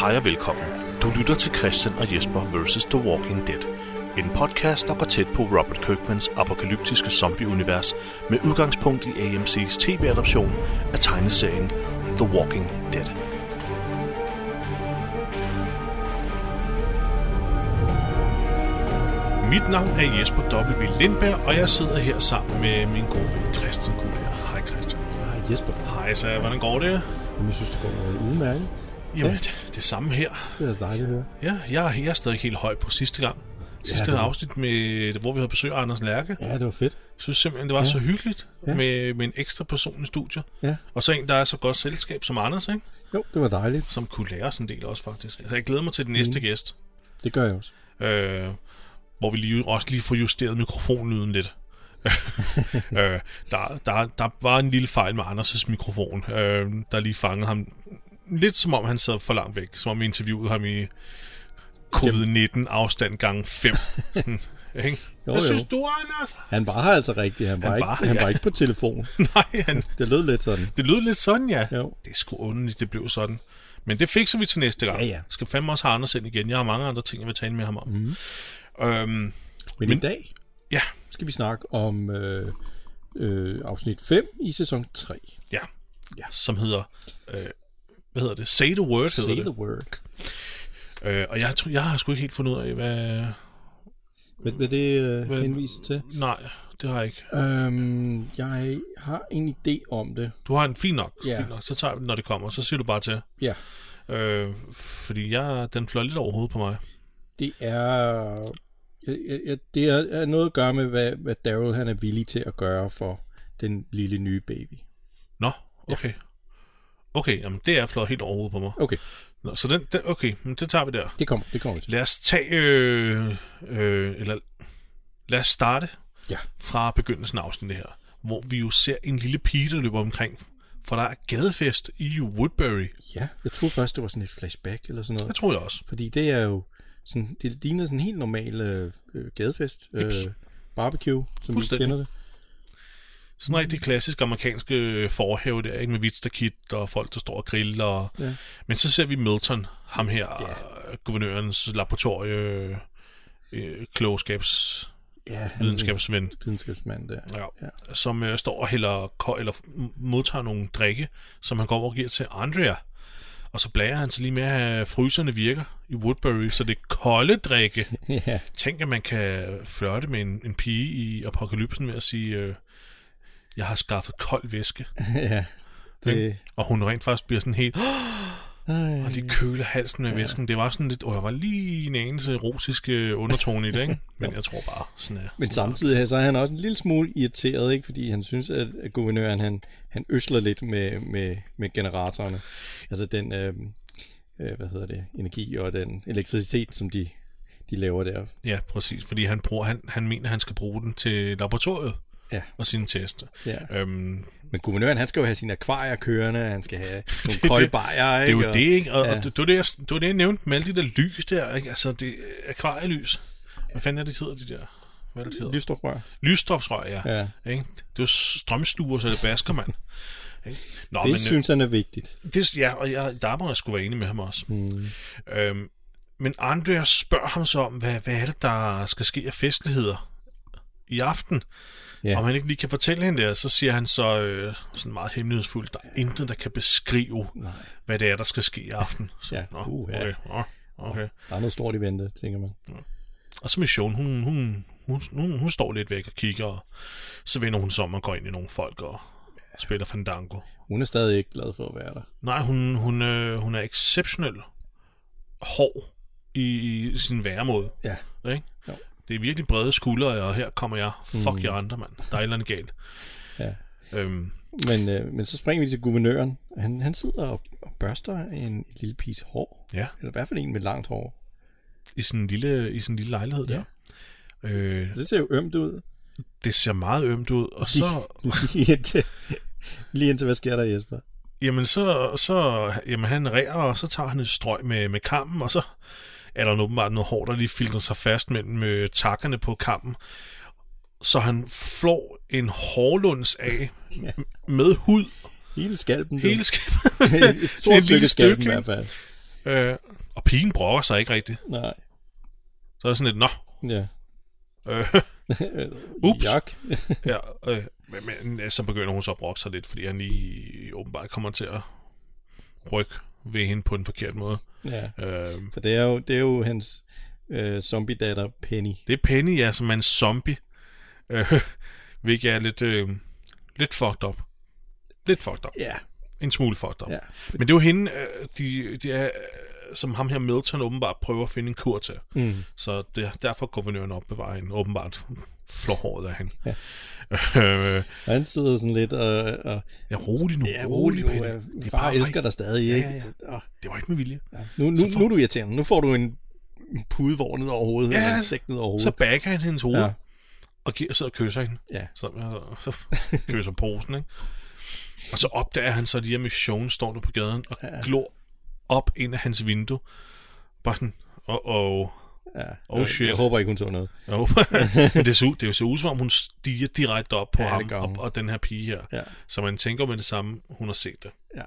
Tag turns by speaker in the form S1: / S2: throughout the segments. S1: Hej og velkommen. Du lytter til Christian og Jesper vs. The Walking Dead. En podcast, der går tæt på Robert Kirkmans apokalyptiske zombieunivers med udgangspunkt i AMC's tv-adoption af tegneserien The Walking Dead. Mit navn er Jesper W. Lindberg, og jeg sidder her sammen med min gode ven Christian Gulær. Hej Christian.
S2: Hej Ah, Jesper.
S1: Hej så hvordan går det?
S2: Jamen, jeg synes, det går øh, udmærket.
S1: Jamen, det samme her.
S2: Det er da dejligt at høre.
S1: Ja, jeg, jeg er stadig helt høj på sidste gang. Sidste
S2: det
S1: ja,
S2: var-
S1: afsnit, med, hvor vi havde besøg af Anders Lærke. Jeg
S2: Ja, det var fedt.
S1: synes simpelthen, det var ja. så hyggeligt ja.
S2: Ja.
S1: med, med en ekstra person i studiet.
S2: Ja.
S1: Og så en, der er så godt selskab som Anders, ikke?
S2: Jo, det var dejligt.
S1: som kunne lære os en del også faktisk. Altså, jeg glæder mig til den næste mm. gæst,
S2: Det gør jeg også.
S1: øh, hvor vi lige, også lige får justeret mikrofonlyden lidt. øh, der, der, der var en lille fejl med Anders' mikrofon, øh, der lige fangede ham. Lidt som om han sad for langt væk, som om vi interviewede ham i covid-19 afstand gange 5. Sådan, ikke?
S2: Jo,
S1: Hvad
S2: jo.
S1: synes du, Anders?
S2: Han var her altså rigtigt. Han var,
S1: Han
S2: han ikke,
S1: var
S2: var,
S1: her,
S2: han
S1: ja.
S2: var ikke på telefon.
S1: Nej, han,
S2: Det lød lidt sådan.
S1: det lød lidt sådan, ja.
S2: Jo.
S1: Det er sgu underligt, det blev sådan. Men det fikser vi til næste gang.
S2: Ja, Mhm. ja.
S1: Skal fandme også have Anders ind igen. Jeg har mange andre ting, jeg vil tale med ham om. Mm. Øhm,
S2: Men, Men i dag
S1: ja,
S2: skal vi snakke om øh, øh, afsnit 5 i sæson 3.
S1: ja.
S2: Ja.
S1: Som hedder... Øh, hvad hedder det? Say the word
S2: Say
S1: hedder
S2: the word.
S1: det. Øh, og jeg, tror, jeg har sgu ikke helt fundet ud af, hvad...
S2: Hvad vil det øh,
S1: Hvad-
S2: henvise til?
S1: Nej, det har jeg ikke.
S2: Øhm, jeg har en idé om det.
S1: Du har en fin nok.
S2: Ja.
S1: Fin nok. Så tager vi den, når det kommer. Så siger du bare til.
S2: Ja,
S1: Øh, fordi jeg, den fløj lidt over hovedet på mig.
S2: det er... Jeg, jeg, jeg, det er er noget at gøre med, hvad, hvad Daryl han er villig til at gøre for den lille nye baby.
S1: Nå, okay. Ja. Okay, jamen det er fløjet helt over hovedet på mig.
S2: Okay,
S1: Nå, så den, den, okay, men det tager vi der.
S2: det kommer, det kommer vi til.
S1: Lad os tage, øh, øh, eller lad os starte
S2: Ja.
S1: fra begyndelsen af afsnittet her, hvor vi jo ser en lille pige, der løber omkring, for der er gadefest i Woodbury.
S2: Ja, jeg troede først, det var sådan et flashback eller sådan
S1: Det
S2: noget.
S1: tror jeg også.
S2: Fordi det er jo sådan, det ligner sådan en helt normal øh, øh, gadefest. Øh, barbecue, som vi
S1: Fuldstændig.
S2: kender det.
S1: Sådan en rigtig klassisk amerikansk øh, forhave der, ikke? med vitstakit og folk, der står og griller. Og...
S2: Ja.
S1: Men så ser vi Milton, ham her, ja. guvernørens laboratorie, øh, øh, klogskabs,
S2: Ja, han er sådan en
S1: videnskabsven.
S2: videnskabsmand der.
S1: Ja.
S2: Ja.
S1: som øh, står og hælder, ko- eller m- modtager nogle drikke, som han går over og giver til Andrea. Og så blærer han sig lige med, at fryserne virker i Woodbury, så det er kolde drikke.
S2: ja.
S1: Tænk, at man kan flirte med en, en pige i apokalypsen ved at sige, øh, jeg har skaffet kold væske.
S2: ja. Det,
S1: Og hun rent faktisk bliver sådan helt, "Åh!"
S2: nej,
S1: og de køler halsen med væsken. Det var sådan lidt, åh, jeg var lige en anelse erotisk øh, undertone i det, ikke? Men jeg tror bare, sådan er.
S2: men samtidig så er han også en lille smule irriteret, ikke? fordi han synes, at, at guvernøren han, han øsler lidt med, med, med generatorerne. Altså den, øh, øh, hvad hedder det, energi og den elektricitet, som de, de laver der.
S1: Ja, præcis, fordi han, bruger, han, han mener, han skal bruge den til laboratoriet.
S2: Ja.
S1: og sine tester.
S2: Ja.
S1: Øhm,
S2: Men guvernøren, han skal jo have sine akvarier kørende, han skal have
S1: det.
S2: nogle kolde bajer,
S1: det er
S2: ikke?
S1: jo det, ikke? Og, ja.
S2: ja.
S1: og det, det, var det, jeg, det var det, jeg nævnte med alle de der lys der, ikke? Altså, det akvarielys. Hvad fanden er det, de hedder, de der? Hvad er det, de hedder?
S2: Lystofrør.
S1: Lysstofsrør, ja. ja.
S2: Ja.
S1: Ikke? Det er jo strømstuer, så det basker, mand. Ikke? Nå,
S2: Det
S1: men, øh,
S2: synes han er vigtigt.
S1: Det, ja, og jeg, der må jeg skulle være enig med ham også. Mm. Øhm, men Andreas spørger ham så om, hvad, hvad er det, der skal ske af festligheder i aften?
S2: Ja.
S1: Om han ikke lige kan fortælle hende det, og så siger han så øh, sådan meget hemmelighedsfuldt, der er intet, der kan beskrive, Nej. hvad det er, der skal ske i aften. Så,
S2: Ja,
S1: nå,
S2: uh, ja.
S1: okay, nå, okay.
S2: Der er noget stort i vente, tænker man.
S1: Og så Michonne, hun, hun, hun, hun, hun står lidt væk og kigger, og så vender hun sig om og går ind i nogle folk og spiller fandango.
S2: Hun er stadig ikke glad for at være der.
S1: Nej, hun, hun, øh, hun er exceptionel hård i, i sin væremåde.
S2: Ja.
S1: Ikke?
S2: Jo.
S1: Det er virkelig brede skuldre, og her kommer jeg. Fuck mm. jer andre, mand. Der er et eller andet galt.
S2: Ja.
S1: Øhm,
S2: Men, øh, men så springer vi til guvernøren. Han, han sidder og, og børster en, en lille piges hår.
S1: ja,
S2: Eller i hvert fald en med langt hår.
S1: i sin lille, i sin lille lejlighed ja. der. Øh,
S2: Det ser jo ømt ud.
S1: det ser meget ømt ud, og så,
S2: lige, indtil, lige indtil, hvad sker der, Jesper?
S1: jamen så, så jamen han rærer, og så tager han et strøg med, med kampen, og så er der åbenbart noget hår, der lige filtrer sig fast mellem øh, takkerne på kampen. Så han flår en hårlunds af
S2: Ja.
S1: med hud
S2: Hele skalpen. du.
S1: Hele skabet.
S2: Et
S1: Det er et
S2: stort
S1: lille
S2: stykke skalpen i
S1: stykke,
S2: hvert fald.
S1: Øh, og pigen brokker sig ikke rigtigt.
S2: Nej.
S1: Så er det sådan lidt, nå,
S2: Ja.
S1: øh, Ups.
S2: Ups. Jak.
S1: ja, øh, men, men øh, så begynder hun så at brokke sig lidt, fordi han lige åbenbart kommer til at rykke ved hende på en forkert måde.
S2: Ja.
S1: Øh,
S2: For det er jo, det er jo hans øh, zombie-datter Penny.
S1: det er Penny, ja, som er en zombie. Øh, hvilket er lidt, øh, lidt fucked up. Lidt fucked up.
S2: Ja.
S1: En smule fucked up.
S2: Ja.
S1: Men det er jo hende, øh, de, de er, øh, som ham her Milton åbenbart prøver at finde en kur til.
S2: Mm.
S1: Så det, derfor guvernøren opbevarer hende. Åbenbart flåhåret af hende.
S2: Ja.
S1: Øh,
S2: Og han sidder sådan lidt og... og
S1: ja, rolig nu.
S2: ja, rolig nu.
S1: Penny.
S2: øh,
S1: Det er
S2: Far
S1: bare
S2: elsker
S1: mig.
S2: dig stadig,
S1: Ja,
S2: ikke?
S1: ja,
S2: Og,
S1: Det var ikke med vilje.
S2: ja. Nu, nu, nu er du irriterende. Nu får du en en pudevår ned over hovedet,
S1: Ja.
S2: ja. eller en sæk ned over
S1: Så
S2: hovedet.
S1: backer han hendes hoved,
S2: Ja.
S1: ja. og giver sig og kysser hende.
S2: Ja.
S1: Så, så, så kysser posen, ikke? Og så opdager han så, at de her missionen står nu på gaden og
S2: Ja.
S1: ja. glor op ind af hans vindue. Bare sådan, åh, oh, oh.
S2: Ja.
S1: Oh,
S2: Jeg-
S1: shit.
S2: Jeg håber ikke, hun så noget.
S1: Jo, men det ser ud, det er jo så ud, som om hun stiger direkte op på
S2: Ja,
S1: ja,
S2: det
S1: ham
S2: gør hun.
S1: og, og den her pige her.
S2: Ja.
S1: Så man tænker med det samme, hun har set det.
S2: Ja.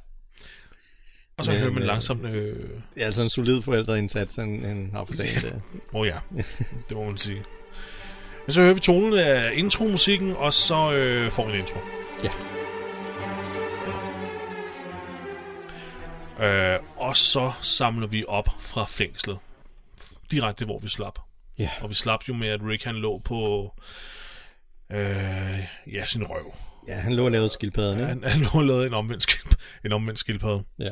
S1: Og så
S2: Men,
S1: hører man
S2: øh,
S1: langsomt, øh,
S2: Det er altså en solid forældreindsats, han, han har for dagen der.
S1: åh oh ja, det må man sige. Men så hører vi tonen af intromusikken, og så øh, får vi en intro.
S2: Ja.
S1: Øh, og så samler vi op fra fængslet. Direkte, hvor vi slap.
S2: Ja.
S1: Og vi slap jo med, at Rick han lå på... Øh, ja, sin røv.
S2: Ja, han lå og lavede skildpadderne. ikke?
S1: Han, han lå og lavede en omvendt, skilp, en omvendt skildpadde.
S2: Ja.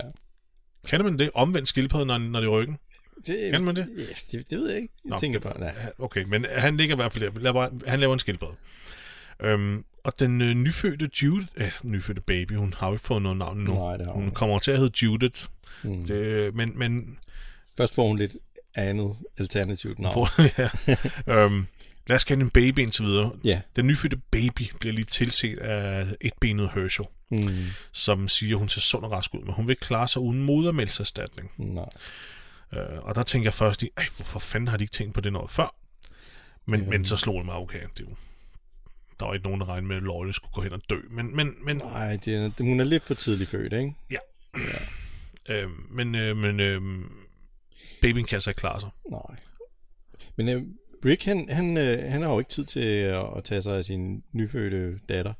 S1: Kender man det? Omvendt skildpadde, når, når det er i ryggen?
S2: Det,
S1: Kan man det?
S2: Ja, det, det ved jeg ikke. Jeg
S1: Nå,
S2: tænker
S1: det-
S2: bare, nej.
S1: Okay, men han ligger i hvert fald der. Lad bare- Han laver en skildpadde. Øhm, og den øh, nyfødte Jude... Øh, nyfødte baby, hun har jo ikke fået noget navn endnu.
S2: Nej, det har hun
S1: hun
S2: ikke.
S1: kommer til at hedde Judith.
S2: Mm.
S1: Det, øh, men, men
S2: Først får hun lidt andet alternativt navn.
S1: Hvor, ja. øhm, lad os kalde den baby indtil videre.
S2: Ja.
S1: Den nyfødte baby bliver lige tilset af etbenet Herschel,
S2: Mm.
S1: som siger, at hun ser sund og rask ud, men hun vil klare sig uden modermælserstatning.
S2: Nej.
S1: Øh, og der tænker jeg først lige, "Ej, hvorfor fanden har de ikke tænkt på det noget før? Men, men så slog det mig, okay, det er jo, der var ikke nogen, der regnede med, at Lotte skulle gå hen og dø. Men, men, men,
S2: Nej, det, er- det, hun er lidt for tidlig født, ikke?
S1: øh, men, øh, men øh, babyen kan så klare sig.
S2: Nej. Men øh, Rick, han, han, øh, han har jo ikke tid til øh, at, at tage sig af sin nyfødte datter.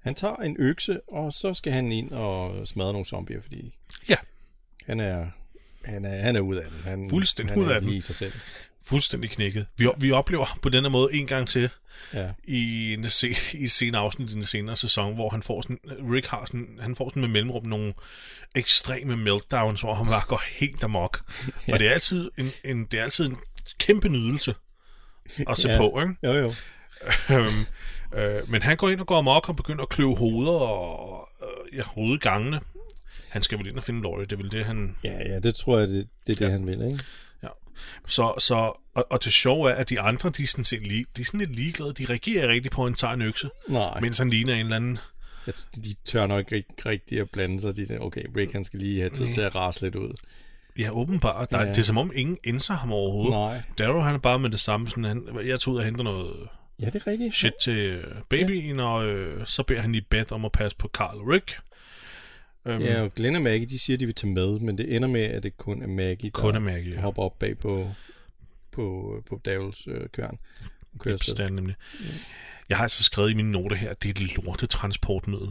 S2: Han tager en økse, og så skal han ind og smadre nogle zombier, fordi
S1: Ja.
S2: han er... Han er, han er ud af den. Han,
S1: Fuldstændig
S2: han
S1: ud
S2: er
S1: af den.
S2: lige i sig selv.
S1: Fuldstændig knækket. Vi, vi oplever på den her måde en gang til,
S2: Ja.
S1: i en, se- i et senere afsnit i den senere sæson, hvor han får sådan, Rick har sådan, han får sådan med mellemrum nogle ekstreme meltdowns, hvor han bare går helt amok. ja. Og det er altid en, en, det er altid en kæmpe nydelse at se
S2: Ja.
S1: ja. på, ikke?
S2: Jo, jo.
S1: Øhm, øh, men han går ind og går amok og begynder at kløve hoveder og øh, ja, rode gangene. Han skal vel ind og finde Laurie, det er vel det, han...
S2: Ja, ja, det tror jeg, det, det er det, ja. han vil, ikke?
S1: Ja. Så, så, og, og det sjove er, at de andre, de er sådan set lige, de er sådan lidt ligeglade. De reagerer ikke rigtigt på, at han tager en økse,
S2: Nej.
S1: mens han ligner en eller anden
S2: Jeg, de tør nok ikke rigtig at blande sig. De der, okay, Rick han skal lige have tid til at rase lidt ud.
S1: Ja, åbenbart. Der,
S2: Ja.
S1: ja. Det er som om ingen indser ham overhovedet.
S2: Nej.
S1: Darrow, han er bare med det samme. Sådan, han, jeg tog ud og henter noget
S2: Ja, det er rigtigt.
S1: shit til øh, babyen, ja. og øh, så beder han lige Beth om at passe på Carl og Rick. Øhm, ja.
S2: Ja, og Glenn og Maggie, de siger, de vil tage med, men det ender med, at det kun er Maggie, der
S1: Kun er Maggie, ja.
S2: hopper op bag på, på, på Davels øh, køren. Og kører afsted.
S1: Stand, nemlig. Jeg har altså skrevet i mine noter her, at det er et lortet transportmiddel.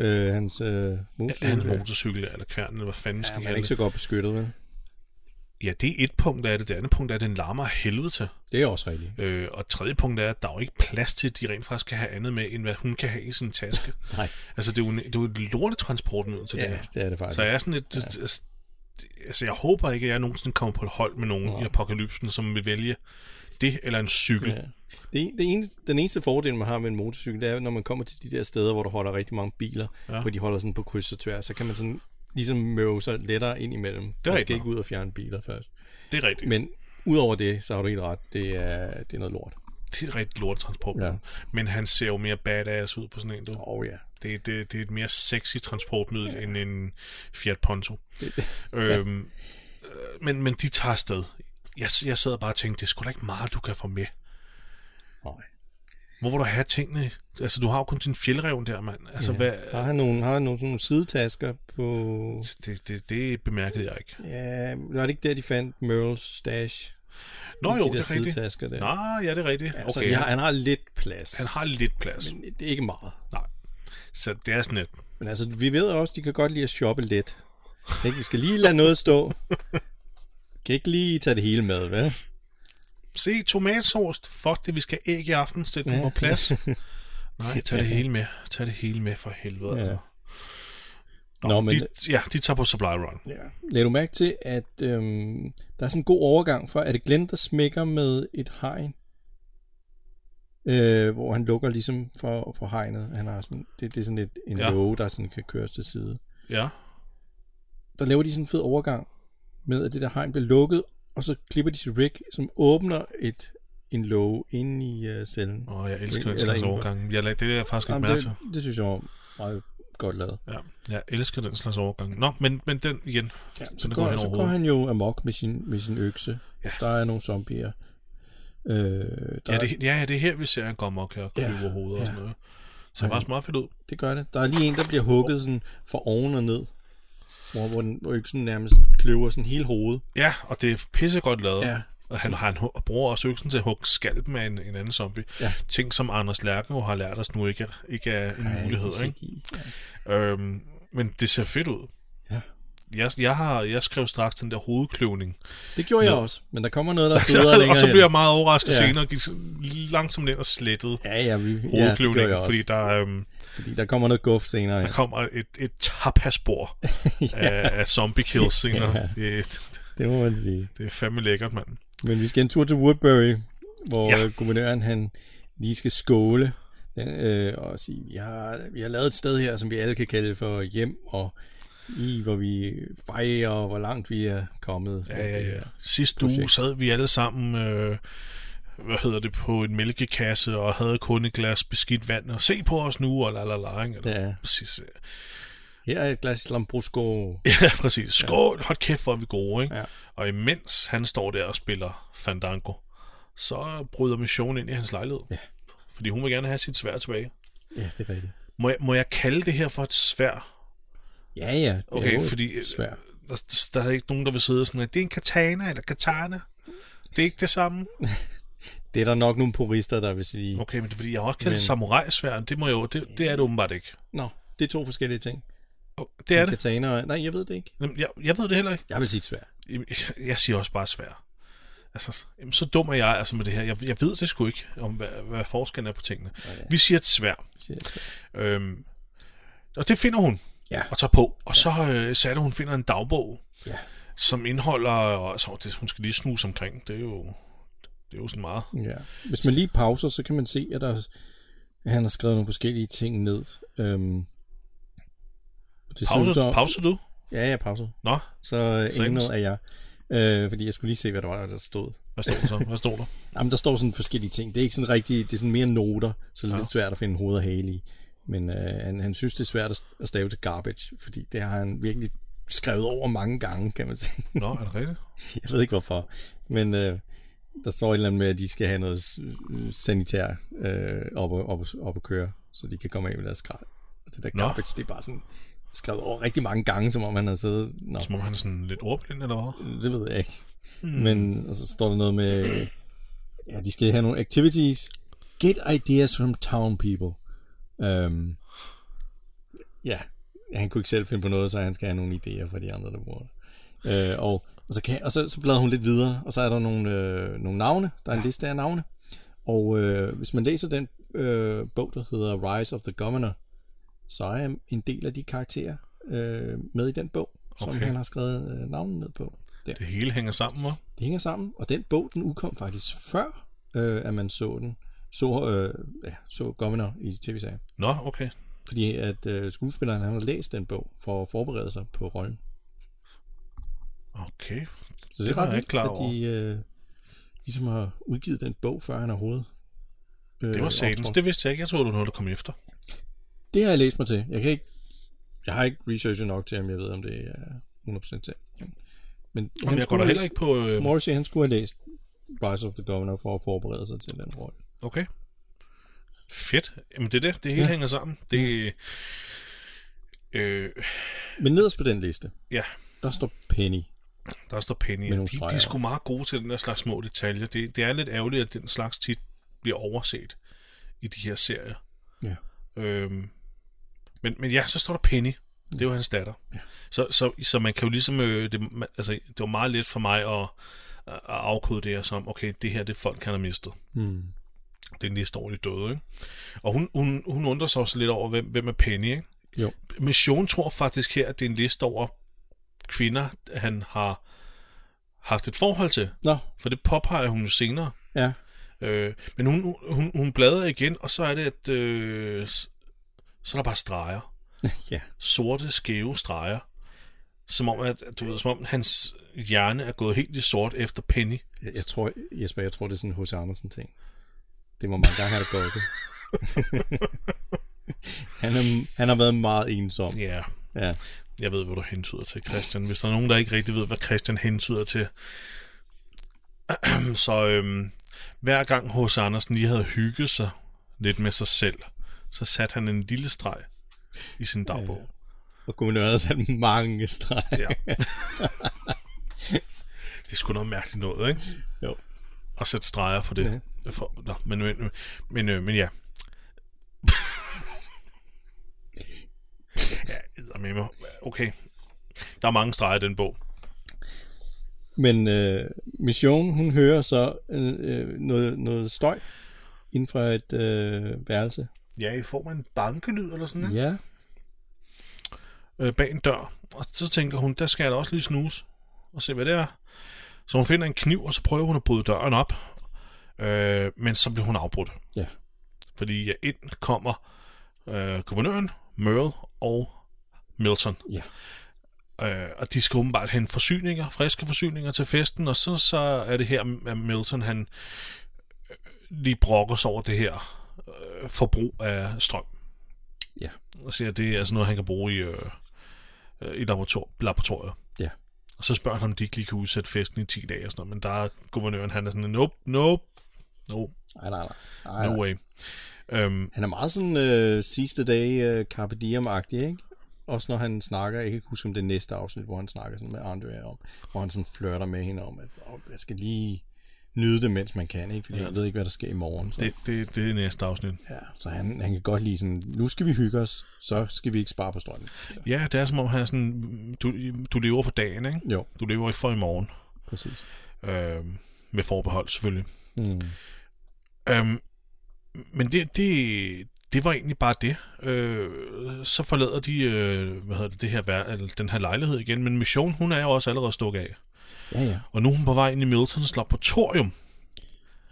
S2: Øh, hans øh, motorcykel.
S1: Ja, hans
S2: ja.
S1: motorcykel eller kværnen, eller hvad fanden
S2: Ja,
S1: skal
S2: man
S1: ja,
S2: er
S1: det?
S2: ikke så godt beskyttet, vel?
S1: Ja, det er et punkt af det. Det andet punkt er, at den larmer af helvede til.
S2: Det er også rigtigt.
S1: Øh, og tredje punkt er, at der er jo ikke plads til, at de rent faktisk kan have andet med, end hvad hun kan have i sin taske.
S2: Nej,
S1: altså, det er jo, en, det er jo et lortet transportmiddel til det her.
S2: ja, det er det faktisk.
S1: Så jeg er sådan lidt... Ja. Altså, jeg håber ikke, at jeg nogensinde kommer på et hold med nogen
S2: Nej.
S1: Nej. i apokalypsen, som vil vælge det eller en cykel. Ja.
S2: Ja. Det, det eneste, den eneste fordel, man har med en motorcykel, det er, når man kommer til de der steder, hvor der holder rigtig mange biler, ja.
S1: Ja.
S2: hvor de holder sådan på kryds og tværs, så kan man sådan ligesom møve sig lettere ind imellem. Det man
S1: rigtigt
S2: skal ikke
S1: nok.
S2: ud og fjerne biler først.
S1: Det er rigtigt. Men.
S2: Men udover det, så har du helt ret. Det er, det er noget lort.
S1: Det er et rigtigt lortetransport.
S2: Ja.
S1: Ja. Men han ser jo mere badass ud på sådan en. Du.
S2: Åh oh, ja.
S1: Det, det, det er et mere sexy transportmiddel ja. end en Fiat Ponto. øhm, øh, men, men de tager afsted. Jeg, jeg sad og bare og tænkte, det er sgu da ikke meget, du kan få med.
S2: Nej.
S1: Hvor vil du have tingene? Altså, du har jo kun din fjeldreven der, mand. Altså, ja. hvad...
S2: Har han nogle, har han nogle, sådan nogle sidetasker på...
S1: Det, det, det bemærkede jeg ikke.
S2: Ja, var det ikke der, de fandt Merle's stash?
S1: Nå
S2: I
S1: jo,
S2: de der
S1: det er rigtigt.
S2: sidetasker der.
S1: Nej, ja, det er rigtigt.
S2: Ja,
S1: Okay,
S2: altså, de har, han har lidt plads.
S1: han har lidt plads. Men...
S2: Det er ikke meget.
S1: Nej. Så det er sådan lidt...
S2: Men altså, vi ved også, de kan godt lide at shoppe lidt. Ikke? Vi skal lige lade noget stå. kan ikke lige tage det hele med, vel?
S1: Se, tomatsovst. Fuck det, vi skal have æg i aften. Sæt dem
S2: Ja.
S1: på plads. Nej, tag det hele med. Tag det hele med for helvede. Ja. Altså. Nå,
S2: Nå,
S1: Nå,
S2: men-
S1: men... de, ja, de tager på Supply Run.
S2: Ja. Lad du mærke til, at øhm, der er sådan en god overgang for, er det Glenn, der smækker med et hegn? Øh, hvor han lukker ligesom for, for hegnet. Han har sådan, det, det er sådan et, en ja.
S1: Ja.
S2: låge, der sådan kan køres til side.
S1: Ja.
S2: Der laver de sådan en fed overgang med, at det der hegn bliver lukket, og så klipper de til Rick, som åbner et, en låge inde i øh, cellen.
S1: Åh, jeg elsker
S2: Eller
S1: den slags
S2: indenfor.
S1: overgang. Jeg, lagde- det er jeg faktisk ikke
S2: Jamen,
S1: mærke til.
S2: det, det synes jeg var meget godt lavet.
S1: Ja, jeg elsker den slags overgang. Nå, men, men den igen.
S2: Ja, så,
S1: Den
S2: går,
S1: går hen
S2: så
S1: over
S2: går han jo amok med sin, med sin økse. Ja.
S1: Ja.
S2: Der er nogle zombier. Øh, der,
S1: Ja, det, ja, ja, det er her, vi ser, han går mok her og
S2: Ja,
S1: køber ja, hovedet
S2: ja.
S1: og sådan noget. Så det er faktisk meget fedt ud.
S2: det gør det. Der er lige en, der bliver hugget sådan fra oven og ned. Hvor, hvor, den, hvor øksen nærmest kløver sådan hele hovedet.
S1: Ja, og det er pissegodt lavet.
S2: Ja.
S1: Og han, han hu- bruger også øksen til at hugge skalpen af en, en anden zombie.
S2: Ja.
S1: Ting, som Anders Lærke jo har lært os nu ikke, er- ikke er en Ej, mulighed.
S2: det er
S1: Ikke?
S2: CGI.
S1: Øhm, men det ser fedt ud.
S2: Ja.
S1: Jeg, jeg, har, jeg skrev straks den der hovedkløvning.
S2: Det gjorde jeg også, men der kommer noget, der er federe
S1: og
S2: længere
S1: så
S2: hen.
S1: blev jeg meget overrasket
S2: Ja.
S1: ja. senere og gik sådan langsomt ind og slettede
S2: Ja, ja, vi, ja, det gjorde
S1: hovedkløvningen,
S2: jeg
S1: ja,
S2: også,
S1: fordi
S2: fordi...
S1: der, øhm,
S2: fordi der kommer noget guf senere.
S1: der
S2: hen.
S1: kommer et, et tapasbord af, af zombie kills senere.
S2: Ja.
S1: ja. det,
S2: Det må man sige.
S1: det er fandme lækkert, mand.
S2: Men vi skal en tur til Woodbury, hvor
S1: Ja.
S2: ja. guvernøren han lige skal skåle den, øh, og sige, vi har, vi har lavet et sted her, som vi alle kan kalde for hjem, og i hvor vi fejrer, og hvor langt vi er kommet.
S1: Ja, ja, ja. Øh, Sidste
S2: projekt.
S1: uge sad vi alle sammen, øh, hvad hedder det, på en mælkekasse og havde kun et glas beskidt vand og se på os nu, og la la la, ikke? Eller-
S2: Ja.
S1: Præcis.
S2: Her er et glas Lambrusco.
S1: Ja, præcis. Skål, hold kæft, hvor er vi gode, ikke?
S2: Ja.
S1: Og imens han står der og spiller Fandango, så bryder missionen ind i hans lejlighed. Ja. Fordi hun vil gerne have sit svær tilbage.
S2: Ja, det er rigtigt.
S1: Må jeg, må jeg kalde det her for et svær?
S2: Ja, ja, det er
S1: Okay,
S2: jo
S1: fordi- øh,
S2: svært.
S1: Der, der er ikke nogen, der vil sidde og sådan, at det er en katana eller katana. Det er ikke det samme.
S2: Det er der nok nogle purister, der vil sige.
S1: Okay, men det er fordi, jeg har også kaldt
S2: Men-
S1: men... samurajsværd. Det, må jeg jo, det, det er det åbenbart ikke.
S2: Nå, det er to forskellige ting.
S1: Det er det.
S2: Katana, og- nej, jeg ved det ikke.
S1: Jamen, Jeg, jeg ved det heller ikke.
S2: Jeg vil sige svært.
S1: Jamen, Jeg siger også bare svær. Altså, jamen, så dum er jeg altså med det her. Jeg, jeg ved det sgu ikke, om hvad, hvad forskellen er på tingene. Okay. Vi siger et svær. Øhm, og det finder hun
S2: Ja.
S1: og tager på. Og så øh, satte hun finder en dagbog,
S2: Ja.
S1: som indeholder... Og, altså, det, hun skal lige snuse omkring. Det er jo, det er jo sådan meget.
S2: Ja. Hvis man lige pauser, så kan man se, at der, at han har skrevet nogle forskellige ting ned. Øhm, det ser ud
S1: Pause,
S2: som-
S1: pause du?
S2: Ja, jeg pauser.
S1: Nå,
S2: Så øh,
S1: Sagtens.
S2: anal er jeg. Øh, fordi jeg skulle lige se, hvad der var, der stod.
S1: hvad stod der så? Hvad stod der?
S2: Jamen, der står sådan forskellige ting. Det er ikke sådan rigtigt, det er sådan mere noter, så det er ja. lidt svært at finde hoved og hale i. Men øh, han, han synes, det er svært at- at stave til garbage, fordi det har han virkelig skrevet over mange gange, kan man sige.
S1: Nå, er det rigtigt?
S2: Jeg ved ikke hvorfor, men øh, der står et eller andet med, at de skal have noget s- øh, sanitær øh, op, og, op, og- op at køre, så de kan komme af med deres skrald. Og det der
S1: Nå.
S2: garbage, det er bare sådan skrevet over rigtig mange gange, som om han har siddet... Nå,
S1: Som om han er sådan lidt ordblind, eller hvad?
S2: det ved jeg ikke. Mm. Men og så står der noget med... øh, Ja, de skal have nogle activities. Get ideas from town people. Um, ja, han kunne ikke selv finde på noget, så han skal have nogle idéer fra de andre, der bor der. Øh, og, og, så, kan, og så, så bladrer hun lidt videre, og så er der nogle, øh, nogle navne. Der er en liste af navne. Og øh, hvis man læser den øh, bog, der hedder Rise of the Governor, så er en del af de karakterer øh, med i den bog, som
S1: Okay.
S2: han har skrevet øh, navnet ned på. Der.
S1: Det hele hænger sammen, hva'?
S2: Det hænger sammen, og den bog, den udkom faktisk før, øh, at man så den. Så, øh, ja, så Governor i tv-serien.
S1: Nå, okay.
S2: Fordi at øh, skuespilleren, han har læst den bog for at forberede sig på rollen.
S1: Okay.
S2: Så det,
S1: Det
S2: det er
S1: var
S2: ret
S1: jeg
S2: vildt,
S1: ikke klar
S2: at de øh, ligesom har udgivet den bog, før han overhovedet øh,
S1: Det var satans.
S2: optrådt.
S1: Det vidste jeg ikke. Jeg troede, det var noget, der kom efter.
S2: Det har jeg læst mig til. Jeg kan ikke, jeg har ikke researchet nok til, om jeg ved, om det er 100% til. Men
S1: Jamen, jeg går da
S2: have-
S1: heller ikke på... Øh,
S2: Morrissey, han skulle have læst Rise of the Governor for at forberede sig til den rolle.
S1: okay. Fedt. Jamen det er det. Det hele ja.
S2: Ja.
S1: hænger sammen. Det, øh,
S2: Men nederst på den liste,
S1: ja,
S2: der står Penny.
S1: der står Penny.
S2: Med
S1: De,
S2: nogle
S1: de er
S2: streger.
S1: sgu meget gode til den her slags små detaljer. Det, det er lidt ærgerligt, at den slags tit bliver overset i de her serier.
S2: Ja.
S1: Øhm, men, men ja, så står der Penny. Det er jo hans datter. Ja. Så, så, så man kan jo ligesom... Øh, det, man, altså, det var meget let for mig at, at afkode det her som, okay, det her det er folk, han har mistet.
S2: Mm.
S1: den næste år, de døde. Ikke? Og hun, hun, hun undrer sig også lidt over, hvem, hvem er Penny. Ikke?
S2: Jo.
S1: Mission tror faktisk her, at det er en liste over kvinder, han har haft et forhold til.
S2: Nå,
S1: For det påpeger hun jo senere.
S2: ja.
S1: Øh, men hun, hun, hun bladrer igen, og så er det, at øh, s- så er der bare streger.
S2: ja.
S1: Sorte, skæve streger. Som om, at, du ved, som om hans hjerne er gået helt i sort efter Penny.
S2: Jeg, jeg tror, Jesper, jeg tror, det er sådan en H.C. Andersen-ting. Det må mange gange have det gået. han, er, han har været meget ensom.
S1: Ja. Yeah.
S2: Ja.
S1: Jeg ved, hvad du hentyder til, Christian. Hvis der er nogen, der ikke rigtig ved, hvad Christian hentyder til. Så øhm, hver gang hos Andersen lige havde hygget sig lidt med sig selv, så satte han en lille streg i sin dagbog.
S2: Og guvernøren har sat mange streger.
S1: Ja. det er sgu noget mærkeligt noget, ikke?
S2: Jo.
S1: At sætte streger for det. For, nå, men, men, men, øh, men ja. ja, med mig. Okay. Der er mange streger i den bog.
S2: Men øh, Mission, hun hører så øh, øh, noget, noget støj inden for et øh, værelse.
S1: Ja, I form af en bankelyd eller sådan noget,
S2: Ja.
S1: ja. øh, bag en dør. Og så tænker hun, der skal jeg da også lige snuse og se, hvad det er. Så hun finder en kniv, og så prøver hun at bryde døren op. Øh, men så bliver hun afbrudt.
S2: Ja.
S1: Fordi ja, ind kommer øh, guvernøren, Merle og Milton.
S2: Ja.
S1: Øh, og de skal åbenbart hente forsyninger, friske forsyninger til festen, og så, så er det her, at Milton han øh, lige brokker sig over det her øh, forbrug af strøm.
S2: Ja.
S1: Og siger, at det er sådan noget, han kan bruge i, øh, øh, i laborator- laboratoriet.
S2: Ja.
S1: Og så spørger han, om de ikke lige kan udsætte festen i 10 dage og sådan noget, men der er guvernøren, han er sådan, nope, nope, nope,
S2: Ej, nej, nej. Ej,
S1: no
S2: nej.
S1: way. Øhm,
S2: Han er meget sådan øh, sidste dag øh, Carpe Diem-agtig, ikke? Også når han snakker, jeg kan ikke huske om det er næste afsnit, hvor han snakker sådan med Andrea om, hvor han sådan flirter med hende om, at "Åh, jeg skal lige nyde det, mens man kan, ikke? Fordi
S1: Ja.
S2: ja. jeg ved ikke, hvad der sker i morgen. Så, det.
S1: det, det, det er næste afsnit.
S2: Ja, så han, han kan godt lide sådan, nu skal vi hygge os, så skal vi ikke spare på strømmen.
S1: Ja, det er som om, han er sådan, du, du lever for dagen, ikke?
S2: Jo,
S1: Du lever ikke for i morgen.
S2: præcis.
S1: Øh, med forbehold, selvfølgelig.
S2: Mm.
S1: Øhm, men det, det, det var egentlig bare det. Øh, så forlader de øh, hvad hedder det, det her, vær- eller den her lejlighed igen, men Mission, hun er jo også allerede stukket af.
S2: Ja, ja.
S1: Og nu er hun på vej ind i Miltons laboratorium.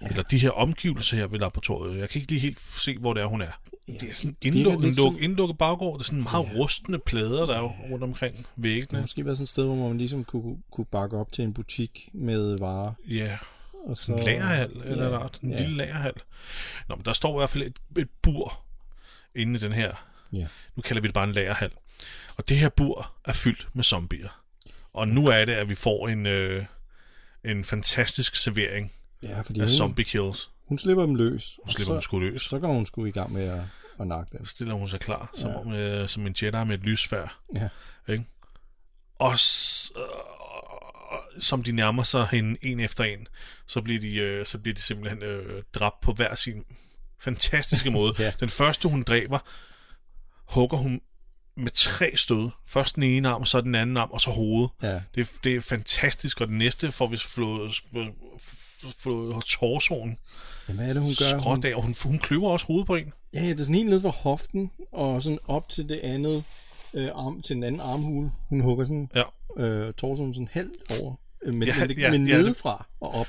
S1: Ja. Eller de her omgivelser her ved laboratoriet. Jeg kan ikke lige helt se, hvor det er, hun er. Ja, det er sådan
S2: virker
S1: indlukket,
S2: lidt
S1: indluk,
S2: som-
S1: indlukket baggård. Det er sådan meget ja. rustende plader, der er rundt omkring
S2: Det har
S1: væggene.
S2: måske været sådan et sted, hvor man ligesom kunne, kunne bakke op til en butik med varer.
S1: Ja,
S2: Og så,
S1: en lagerhal eller ja, En
S2: ja,
S1: lille lagerhal. Nå, men der står i hvert fald et, et bur inde i den her.
S2: Ja.
S1: Nu kalder vi det bare en lagerhal. Og det her bur er fyldt med zombier. Og nu er det, at vi får en, øh, en fantastisk servering
S2: ja, fordi
S1: af
S2: hun,
S1: zombie kills.
S2: hun slipper dem løs. og
S1: Nu slipper hun
S2: så,
S1: sgu løs.
S2: så går hun sgu i gang med at, at nakke dem.
S1: stiller hun sig klar, som, ja. om, øh, som en Jedi med et lysfærd.
S2: Ja.
S1: Ikke? Og s- øh, som de nærmer sig hende en efter en, så bliver de, øh, så bliver de simpelthen øh, dræbt på hver sin fantastiske måde.
S2: Ja.
S1: Den første, hun dræber, hugger hun med tre stød. Først den ene arm, så den anden arm, og så hovedet.
S2: Ja,
S1: Det, er- det er fantastisk, og den næste får vi flået, flået, flået torsoen
S2: ja hvad er det, hun gør? Hun,
S1: skråt af, og hun, hun kløver også hovedet på en.
S2: ja, ja, det er sådan helt ned fra hoften, og sådan op til det andet øh, arm, til den anden armhule. Hun hugger sådan
S1: Ja.
S2: øh, torsoen sådan halvt over, øh, men,
S1: Ja,
S2: ja, men, det,
S1: ja,
S2: ja, men
S1: ja, det-
S2: nedefra og op.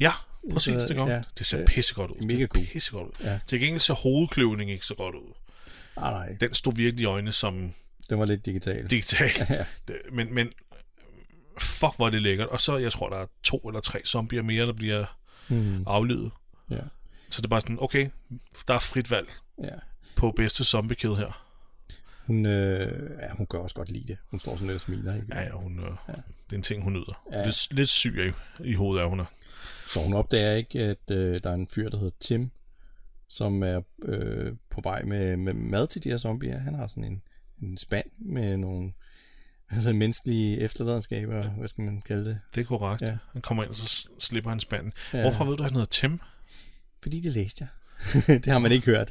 S1: Ja, præcis,
S2: Så,
S1: det gør hun.
S2: ja.
S1: Det ser
S2: Øh,
S1: pissegodt ud.
S2: mega
S1: Det ser
S2: cool.
S1: Pissegodt ud. Ja.
S2: Ja.
S1: Til gengæld ser hovedkløvning ikke så godt ud.
S2: Ah, nej,
S1: Den stod virkelig i øjnene som
S2: den var lidt digital.
S1: digital.
S2: Ja.
S1: Det- men, men fuck, hvor er det lækkert. Og så, jeg tror, der er to eller tre zombier mere, der bliver
S2: Mm,
S1: aflivet.
S2: ja,
S1: Så det er bare sådan, okay, der er frit valg
S2: ja.
S1: på bedste zombie kill her.
S2: Hun, øh, ja, hun gør også godt lide det. Hun står sådan lidt og smiler. Ikke?
S1: Ja, ja, hun, øh, ja. det er en ting, hun nyder. Ja.
S2: Ja.
S1: Lidt, lidt syg i, i hovedet er hun. er.
S2: Så hun opdager ikke, at øh, der er en fyr, der hedder Tim, som er øh, på vej med, med mad til de her zombier. Han har sådan en, en spand med nogle altså menneskelige efterladenskaber, hvad skal man kalde det?
S1: Det er korrekt.
S2: Ja.
S1: Ja. Han kommer ind, og så s- slipper han spanden.
S2: Ja.
S1: Ja. Hvorfor ved du, at han hedder Tim?
S2: Fordi det læste jeg. det har man ikke hørt.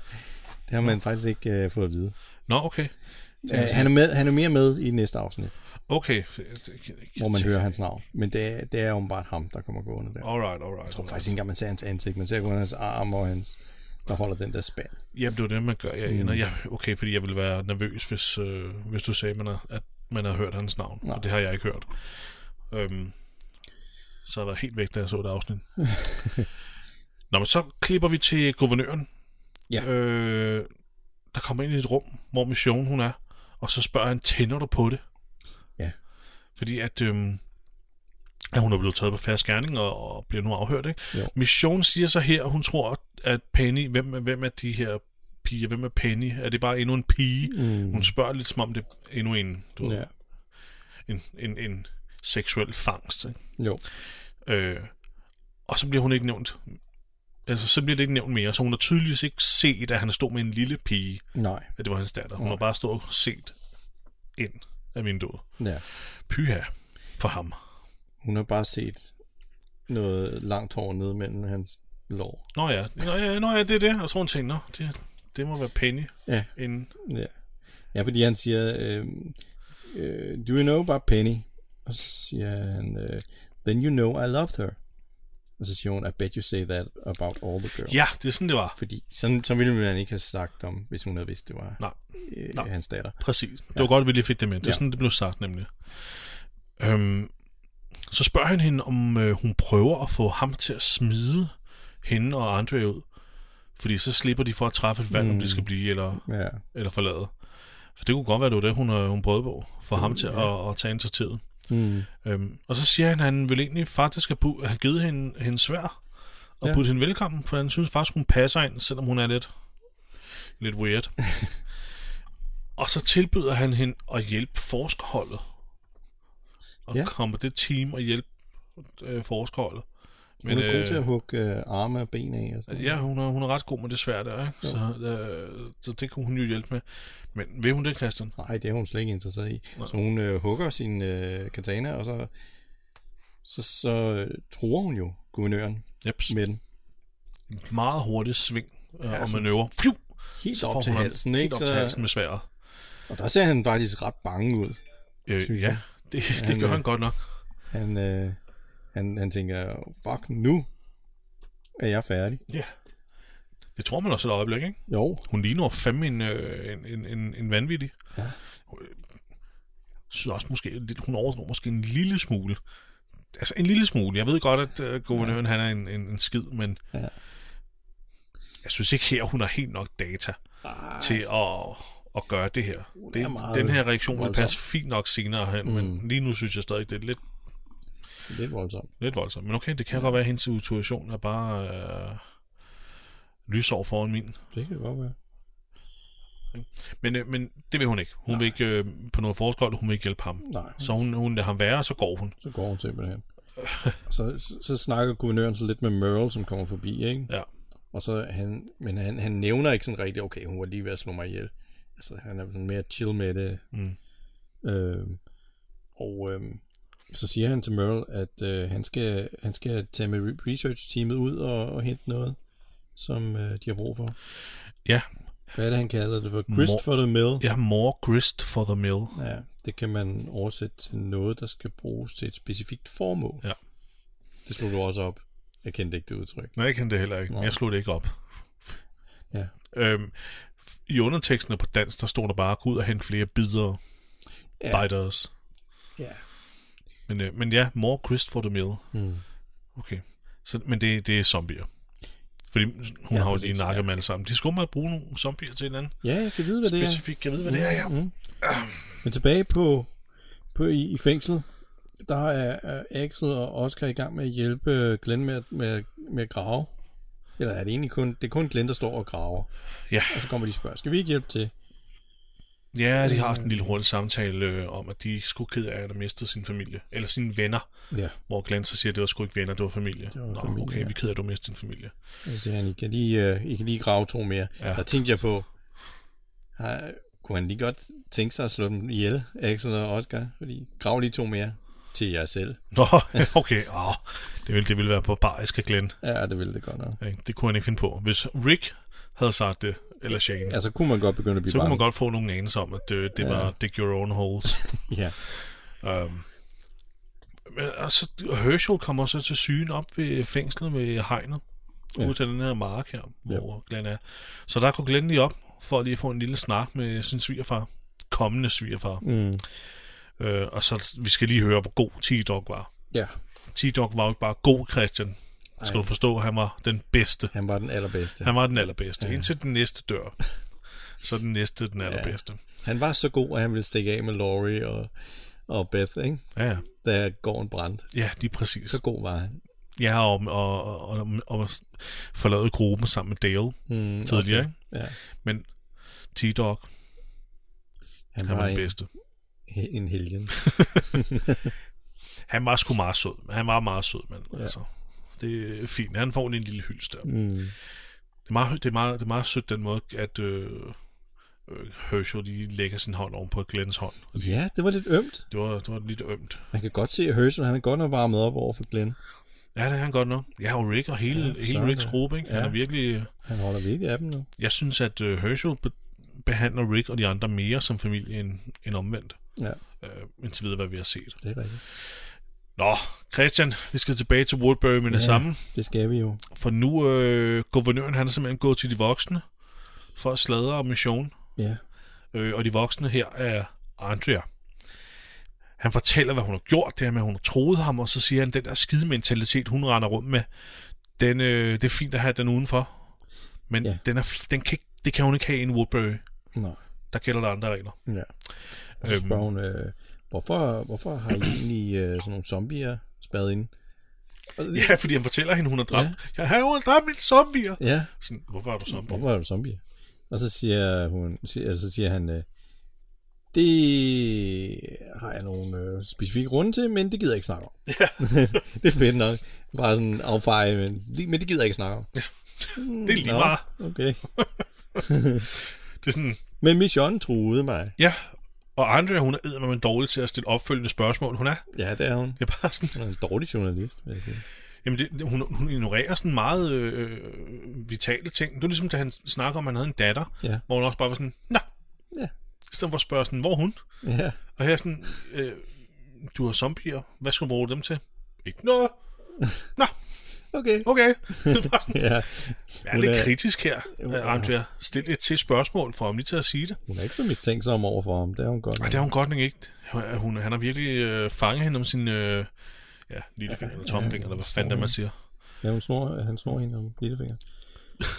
S2: Det har man faktisk ikke øh, fået at vide.
S1: Nå, okay.
S2: Øh, han, er med, han er mere med i næste afsnit,
S1: Okay. Det-
S2: hvor man hører hans navn. Men det er, det er åbenbart ham, der kommer gående der.
S1: Alright, alright. Jeg
S2: Jeg tror faktisk ikke engang, man ser hans ansigt. Man ser kun hans arm og hans, der holder den der spand.
S1: Jamen, det er jo det, man gør. Jeg ender,
S2: Mm.
S1: jeg, okay, fordi jeg ville være nervøs, hvis, øh, hvis du sagde, man har, at man har hørt hans navn.
S2: Nej.
S1: Og det har jeg ikke hørt. Øhm, så er der helt væk, da jeg så det afsnit. Nå, men så klipper vi til guvernøren.
S2: Ja.
S1: Øh, der kommer ind i et rum, hvor Mission hun er. Og så spørger han, tænder du på det?
S2: Ja.
S1: Fordi at, øhm, at hun er blevet taget på færre skærning og, og bliver nu afhørt, ikke?
S2: Jo.
S1: Mission siger så her, hun tror, at Penny, hvem, er- hvem er de her piger? Hvem er Penny? Er det bare endnu en pige?
S2: Mm.
S1: Hun spørger lidt som om det er endnu en, du ved,
S2: Ja.
S1: en, en, en seksuel fangst. Ikke?
S2: Jo.
S1: Øh, og så bliver hun ikke nævnt. Altså, så bliver det ikke nævnt mere. Så hun har tydeligvis ikke set, at han stod med en lille pige,
S2: Nej.
S1: at det var hans datter. Hun
S2: Nej.
S1: har bare stået og set ind af vinduet.
S2: Ja.
S1: Pyha for ham.
S2: Hun har bare set noget langt hår nede mellem hans lår.
S1: Nå ja, nå ja, nå ja det er det. Og så har hun tænkt, nå, det, det må være Penny.
S2: Ja.
S1: En,
S2: Ja, ja fordi han siger, øh, øh, do you know about Penny? Og så siger han, øh, then you know I loved her. Og så siger hun, I bet you say that about all the girls.
S1: ja, det er sådan, det var.
S2: Fordi sådan, så ville man ikke have sagt om, hvis hun havde vidst, det var
S1: Nej.
S2: øh,
S1: Nej.
S2: hans datter.
S1: Præcis. Det var godt, at vi lige fik det med. Det er
S2: Ja.
S1: ja. sådan, det blev sagt nemlig. Øhm, så spørger han hende, om øh, hun prøver at få ham til at smide hende og Andre ud. Fordi så slipper de for at træffe et valg, mm. om de skal blive eller,
S2: Ja,
S1: eller forlade. For det kunne godt være, det var det, hun, øh, hun prøvede på. For ham til at, at tage initiativet.
S2: mm.
S1: Øhm, og så siger han, at han vil egentlig faktisk have, bu- have givet hende, hende svær og
S2: Ja.
S1: ja. budt hende velkommen, for han synes faktisk, hun passer ind, selvom hun er lidt, lidt weird. og så tilbyder han hende at hjælpe forskerholdet. Og
S2: Ja.
S1: ja. komme på det team og hjælpe øh, forskerholdet.
S2: hun er god til at hugge øh, arme og ben af og sådan
S1: Ja, hun er, hun er ret god med det svære der, ikke? Så, øh, så det kunne hun jo hjælpe med. Men vil hun det, Christian?
S2: Nej, det er hun slet ikke interesseret i. Nej. Så hun øh, hugger sin øh, katana, og så, så, så øh, truer hun jo guvernøren
S1: Jeps.
S2: med den.
S1: Meget hurtigt sving øh, og
S2: altså-
S1: manøvre. Fju!
S2: Helt
S1: Så får
S2: op til
S1: hun ham
S2: halsen,
S1: Helt
S2: ikke?
S1: op til halsen med sværet.
S2: Og der ser han faktisk ret bange ud. synes
S1: Øh,
S2: jeg.
S1: ja, det, det
S2: Han,
S1: gør
S2: øh,
S1: han godt nok.
S2: Han, øh, han, han tænker, fuck, nu er jeg færdig.
S1: Ja. Det tror man også et øjeblik, ikke?
S2: Jo,
S1: Hun ligner fandme en, øh, en, en, en, en vanvittig.
S2: Ja.
S1: Øh, synes også måske, lidt, hun overdrog måske en lille smule. Altså en lille smule. Jeg ved godt, at øh, guvernøren han er en, en, en skid, men
S2: Ja.
S1: jeg synes ikke her, hun har helt nok data
S2: Ah,
S1: Ej. til at, at gøre det her.
S2: er
S1: Det,
S2: meget
S1: den her reaktion vil
S2: voldsom.
S1: passe fint nok senere hen, mm. men lige nu synes jeg stadig, det er lidt
S2: lidt voldsomt.
S1: Lidt voldsomt, men okay, det kan godt være, at hendes intuition er bare øh, lysår foran min.
S2: Det kan det godt være.
S1: Men, øh, men det vil hun ikke. Hun Nej. vil ikke øh, på noget forskål, hun vil ikke hjælpe ham.
S2: Nej,
S1: Så hun, hun lader ham være, og så går hun.
S2: så går hun simpelthen. Og så, så, så snakker guvernøren så lidt med Merle, som kommer forbi, ikke?
S1: Ja.
S2: Og så han, men han, han nævner ikke sådan rigtigt, okay, hun var lige ved at slå mig ihjel. Altså, han er sådan mere chill med det.
S1: Mm.
S2: Øhm, og øhm, så siger han til Merle, at øh, han, skal, han skal tage med re- research-teamet ud og, og hente noget, som øh, de har brug for.
S1: Ja,
S2: Hvad er det, han kalder det for? Grist for the mill?
S1: jeg har more grist for the mill.
S2: ja. Det kan man oversætte til noget, der skal bruges til et specifikt formål.
S1: Ja.
S2: Det slog du også op. Jeg kendte ikke det udtryk.
S1: Nej, jeg kan det heller ikke.
S2: Nå.
S1: Jeg slog det ikke op.
S2: Ja.
S1: Øhm, f- I underteksterne på dansk, der stod der bare, gå ud og hente flere bidder.
S2: Ja.
S1: Ja. Biters.
S2: Ja.
S1: Men, øh, men ja, more grist for the mill.
S2: Mm.
S1: Okay. Så, men det, det er zombier. Fordi hun
S2: Ja,
S1: ja, har jo
S2: præcis,
S1: lige nakket dem alle sammen. De skulle bare bruge nogle zombier til hinanden.
S2: ja, jeg kan vide, hvad det er.
S1: Specifikt, jeg ved, hvad det er, ja.
S2: Mm. Men tilbage på, på i, i fængslet, der er, er Axel og Oscar i gang med at hjælpe Glenn med, at- med, med at grave. Eller er det egentlig kun, det er kun Glenn, der står og graver.
S1: Ja,
S2: Og så kommer de og spørger, skal vi ikke hjælpe til?
S1: Ja, de har sådan en lille hurtig samtale øh, om, at de er sgu ked af, at have mistet sin familie. Eller sine venner.
S2: Ja.
S1: Hvor Glenn så siger, at det var sgu ikke venner, det var familie. Det
S2: var
S1: Nå,
S2: familie,
S1: okay,
S2: ja.
S1: vi er ked af, at du mistede din familie.
S2: Og så siger han, I kan lige, øh, I kan lige grave to mere.
S1: Ja.
S2: Ja. Der tænkte jeg på, har, kunne han lige godt tænke sig at slå dem ihjel, Axel og Oscar? Fordi grav lige to mere til jer selv.
S1: Nå, okay. Åh, det, ville, det ville være barbarisk af Glenn.
S2: Ja, det ville det godt nok.
S1: ikke? Det kunne han ikke finde på. Hvis Rick havde sagt det, eller Shane, ja,
S2: Altså kunne man godt begynde at blive
S1: så kunne
S2: bange.
S1: man godt få nogle anelser om, at øh, det, det ja. var dig your own holes.
S2: Ja.
S1: um, men altså, Herschel kommer så til syne op ved fængslet ved hegnet, ja.
S2: Ja.
S1: ud til den her mark her, hvor ja. Glenn er. Så der går Glenn lige op, for at lige få en lille snak med sin svigerfar, kommende svigerfar.
S2: Mm.
S1: Øh, og så, vi skal lige høre, hvor god T-Dog var.
S2: ja,
S1: T-Dog var jo ikke bare god, Christian. Skal
S2: Ej.
S1: du forstå, han var den bedste.
S2: han var den allerbedste.
S1: Han var den allerbedste. Ja. Indtil den næste dør, så er den næste den allerbedste.
S2: Han var så god, at han ville stikke af med Laurie og, og Beth, ikke?
S1: Ja, ja.
S2: da gården brændte.
S1: ja lige præcis.
S2: Så god var han.
S1: Ja, og, og, og, og, og forlade gruppen sammen med Dale
S2: Mm, også
S1: tidligere.
S2: det.
S1: Ikke?
S2: Ja.
S1: Men T-Dog,
S2: Han,
S1: han
S2: var,
S1: var den
S2: en,
S1: bedste.
S2: he- en helgen.
S1: Han var sgu meget sød. Han var meget sød, men ja. altså, det er fint. Han får en lille hyldest der.
S2: Mm.
S1: Det er meget, det er meget, det er meget sødt den måde, at øh, øh, Herschel lige lægger sin hånd oven på Glens hånd.
S2: Ja, det var lidt ømt.
S1: Det var, det var lidt ømt.
S2: Man kan godt se, at Herschel, han er godt nok varmet op over for Glenn.
S1: Ja, det er han godt nok. Ja, og Rick og hele, ja, hele
S2: sådan
S1: Ricks
S2: der.
S1: gruppe, ikke? Ja. Han
S2: Ja.
S1: er virkelig... øh,
S2: Han holder virkelig af dem nu.
S1: Jeg synes, at øh, Herschel be- behandler Rick og de andre mere som familie end, end omvendt.
S2: Ja,
S1: Øh, indtil videre, hvad vi har set.
S2: det er rigtigt.
S1: Nå, Christian, vi skal tilbage til Woodbury med ja. det
S2: Ja.
S1: samme.
S2: Det skal vi jo.
S1: For nu, øh, guvernøren, han er simpelthen gået til de voksne for at sladre om mission.
S2: Ja.
S1: Øh, og de voksne her er Andrea. Han fortæller, hvad hun har gjort, det her med, at hun har troet ham, og så siger han, den der skide mentalitet, hun render rundt med, den, øh, det er fint at have den udenfor, men ja.
S2: Ja.
S1: den er, den kan, ikke- det kan hun ikke have i en Woodbury.
S2: Nå.
S1: Der gælder der andre regler.
S2: Ja. Og så
S1: Øhm.
S2: spørger hun, øh, hvorfor, hvorfor har I egentlig øh, sådan nogle zombier spadet ind? Og,
S1: Ja, fordi han fortæller hende, hun har dræbt. Ja. Jeg har jo dræbt min zombier.
S2: ja.
S1: Sådan, hvorfor er du zombie?
S2: Hvorfor er du zombie? Og så siger, hun, siger, eller så siger han, øh, det har jeg nogle øh, specifikke grunde til, men det gider jeg ikke snakke om.
S1: Ja.
S2: det er fedt nok. Bare sådan affeje, men, men det gider jeg ikke snakke om.
S1: Det er lige
S2: Nå.
S1: meget.
S2: Okay.
S1: Det er sådan,
S2: Men Michonne truede mig.
S1: ja. Og Andrea, hun er eddermame dårlig til at stille opfølgende spørgsmål. Hun er,
S2: Ja, det er hun.
S1: det er bare sådan,
S2: Hun er en dårlig journalist, vil jeg sige.
S1: Jamen, det, det- hun, hun ignorerer sådan meget øh, øh, vitale ting. Det var ligesom, da han snakker om, at han havde en datter,
S2: Ja.
S1: hvor hun også bare var sådan, Nå!
S2: Ja.
S1: I stedet for at spørge sådan, hvor er hun?
S2: Ja,
S1: Og her er sådan, øh, du har zombier, hvad skal du bruge dem til? Ikke noget. Nå,
S2: okay.
S1: okay. Det er bare sådan,
S2: Ja.
S1: Jeg er
S2: Hun
S1: lidt
S2: er- Mm.
S1: kritisk her, Andrea. Stil et til spørgsmål for ham lige til at sige det.
S2: Hun er ikke så mistænksom over for ham. Det er hun godt.
S1: Og
S2: nok.
S1: det er hun godt nok ikke. Hun- Hun, han har virkelig øh, fanget hende om sin øh, ja, lillefinger eller tommefinger, eller hvad fanden det er, man siger.
S2: Ja, hun snor, han snor hende om lillefinger.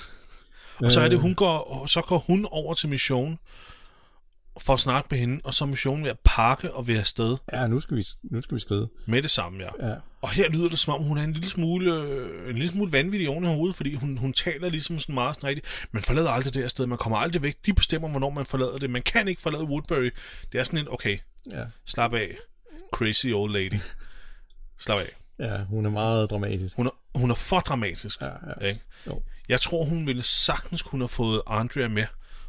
S1: Og så er det,
S2: Øh.
S1: hun går, og så går hun over til Mission for at snakke med hende, og så er Mission ved at pakke og ved afsted
S2: Ja, nu skal vi, nu skal vi skride.
S1: med det samme, ja.
S2: Ja.
S1: Og her lyder det, som om hun er en lille smule, øh, en lille smule vanvittig oven i hovedet, fordi hun, hun taler ligesom sådan meget sådan rigtigt. Man forlader aldrig det her sted, man kommer aldrig væk. De bestemmer, hvornår man forlader det. Man kan ikke forlade Woodbury. Det er sådan en, okay,
S2: Ja.
S1: slap af, crazy old lady. Slap af.
S2: ja, hun er meget dramatisk.
S1: Hun er, hun er for dramatisk.
S2: Ja, ja.
S1: Ikke?
S2: Jo.
S1: Jeg tror, hun ville sagtens kunne have fået Andrea med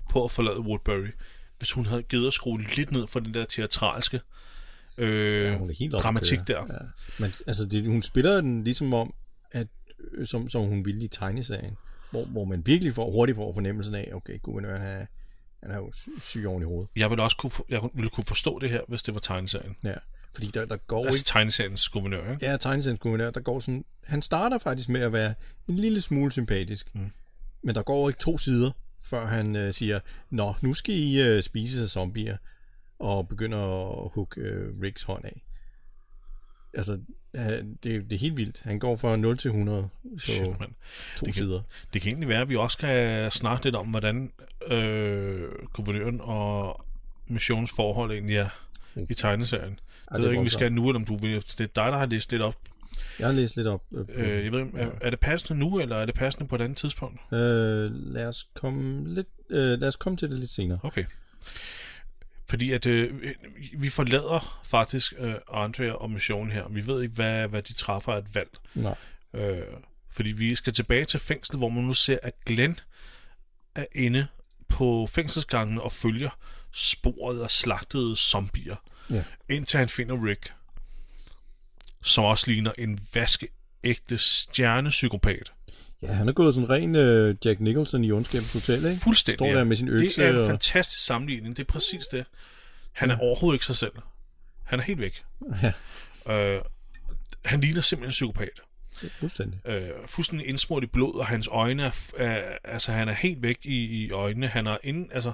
S1: på at forlade Woodbury, hvis hun havde givet at skrue lidt ned for den der teatralske øh,
S2: Ja, hun er helt oppe at
S1: dramatik
S2: køre.
S1: der.
S2: Ja. Men altså, det, hun spiller den ligesom om, at, øh, som, som hun ville i tegneserien, hvor, hvor man virkelig får, hurtigt får fornemmelsen af, okay, guvernøren er, han er jo sy- syg oven i hovedet.
S1: Jeg ville også kunne, for, jeg ville kunne forstå det her, hvis det var tegneserien.
S2: Ja. Fordi der, der går
S1: Altså tegneseriens guvernør, ikke?
S2: Ja, tegneseriensguvernør, der går sådan... Han starter faktisk med at være en lille smule sympatisk. Mm. Men der går ikke to sider, før han øh, siger, Nå, nu skal I øh, spise sig zombier, og begynder at hugge øh, Ricks hånd af. Altså, øh, det, det er helt vildt. Han går fra 0 til 100 på
S1: Shit, mand. det
S2: to
S1: kan-
S2: sider.
S1: Det kan egentlig være, at vi også kan snakke lidt om, hvordan øh, guvernøren og missionens forhold egentlig er i tegneserien.
S2: Mm. er
S1: Jeg ved ikke, om vi
S2: voldsomt. Mm.
S1: skal nu, eller om du vil. Det er dig, der har læst lidt op.
S2: Jeg har læst lidt op. Øh, på-
S1: Øh, jeg ved, ikke, er, er det passende nu, eller er det passende på et andet tidspunkt?
S2: øh, lad os komme lidt... Øh, lad os komme til det lidt senere.
S1: Okay. Fordi at øh, vi forlader faktisk øh, Andrea og missionen her. Vi ved ikke, hvad, hvad de træffer af et valg.
S2: Nej.
S1: Øh, fordi vi skal tilbage til fængslet, hvor man nu ser, at Glenn er inde på fængselsgangen og følger sporet af slagtede zombier,
S2: Ja.
S1: indtil han finder Rick, som også ligner en vaskeægte stjernepsykopat.
S2: ja, han er gået sådan ren øh, Jack Nicholson i Ondskabens Hotel, ikke?
S1: Fuldstændig.
S2: Står der med sin økse
S1: Det er en
S2: og-
S1: fantastisk sammenligning. Det er præcis det. Han er overhovedet ikke sig selv. Han er helt væk.
S2: Ja.
S1: Øh, han ligner simpelthen en psykopat.
S2: Fuldstændig.
S1: øh, fuldstændig indsmurt i blod, og hans øjne er, f- er altså han er helt væk i, i øjnene. Han er inde, altså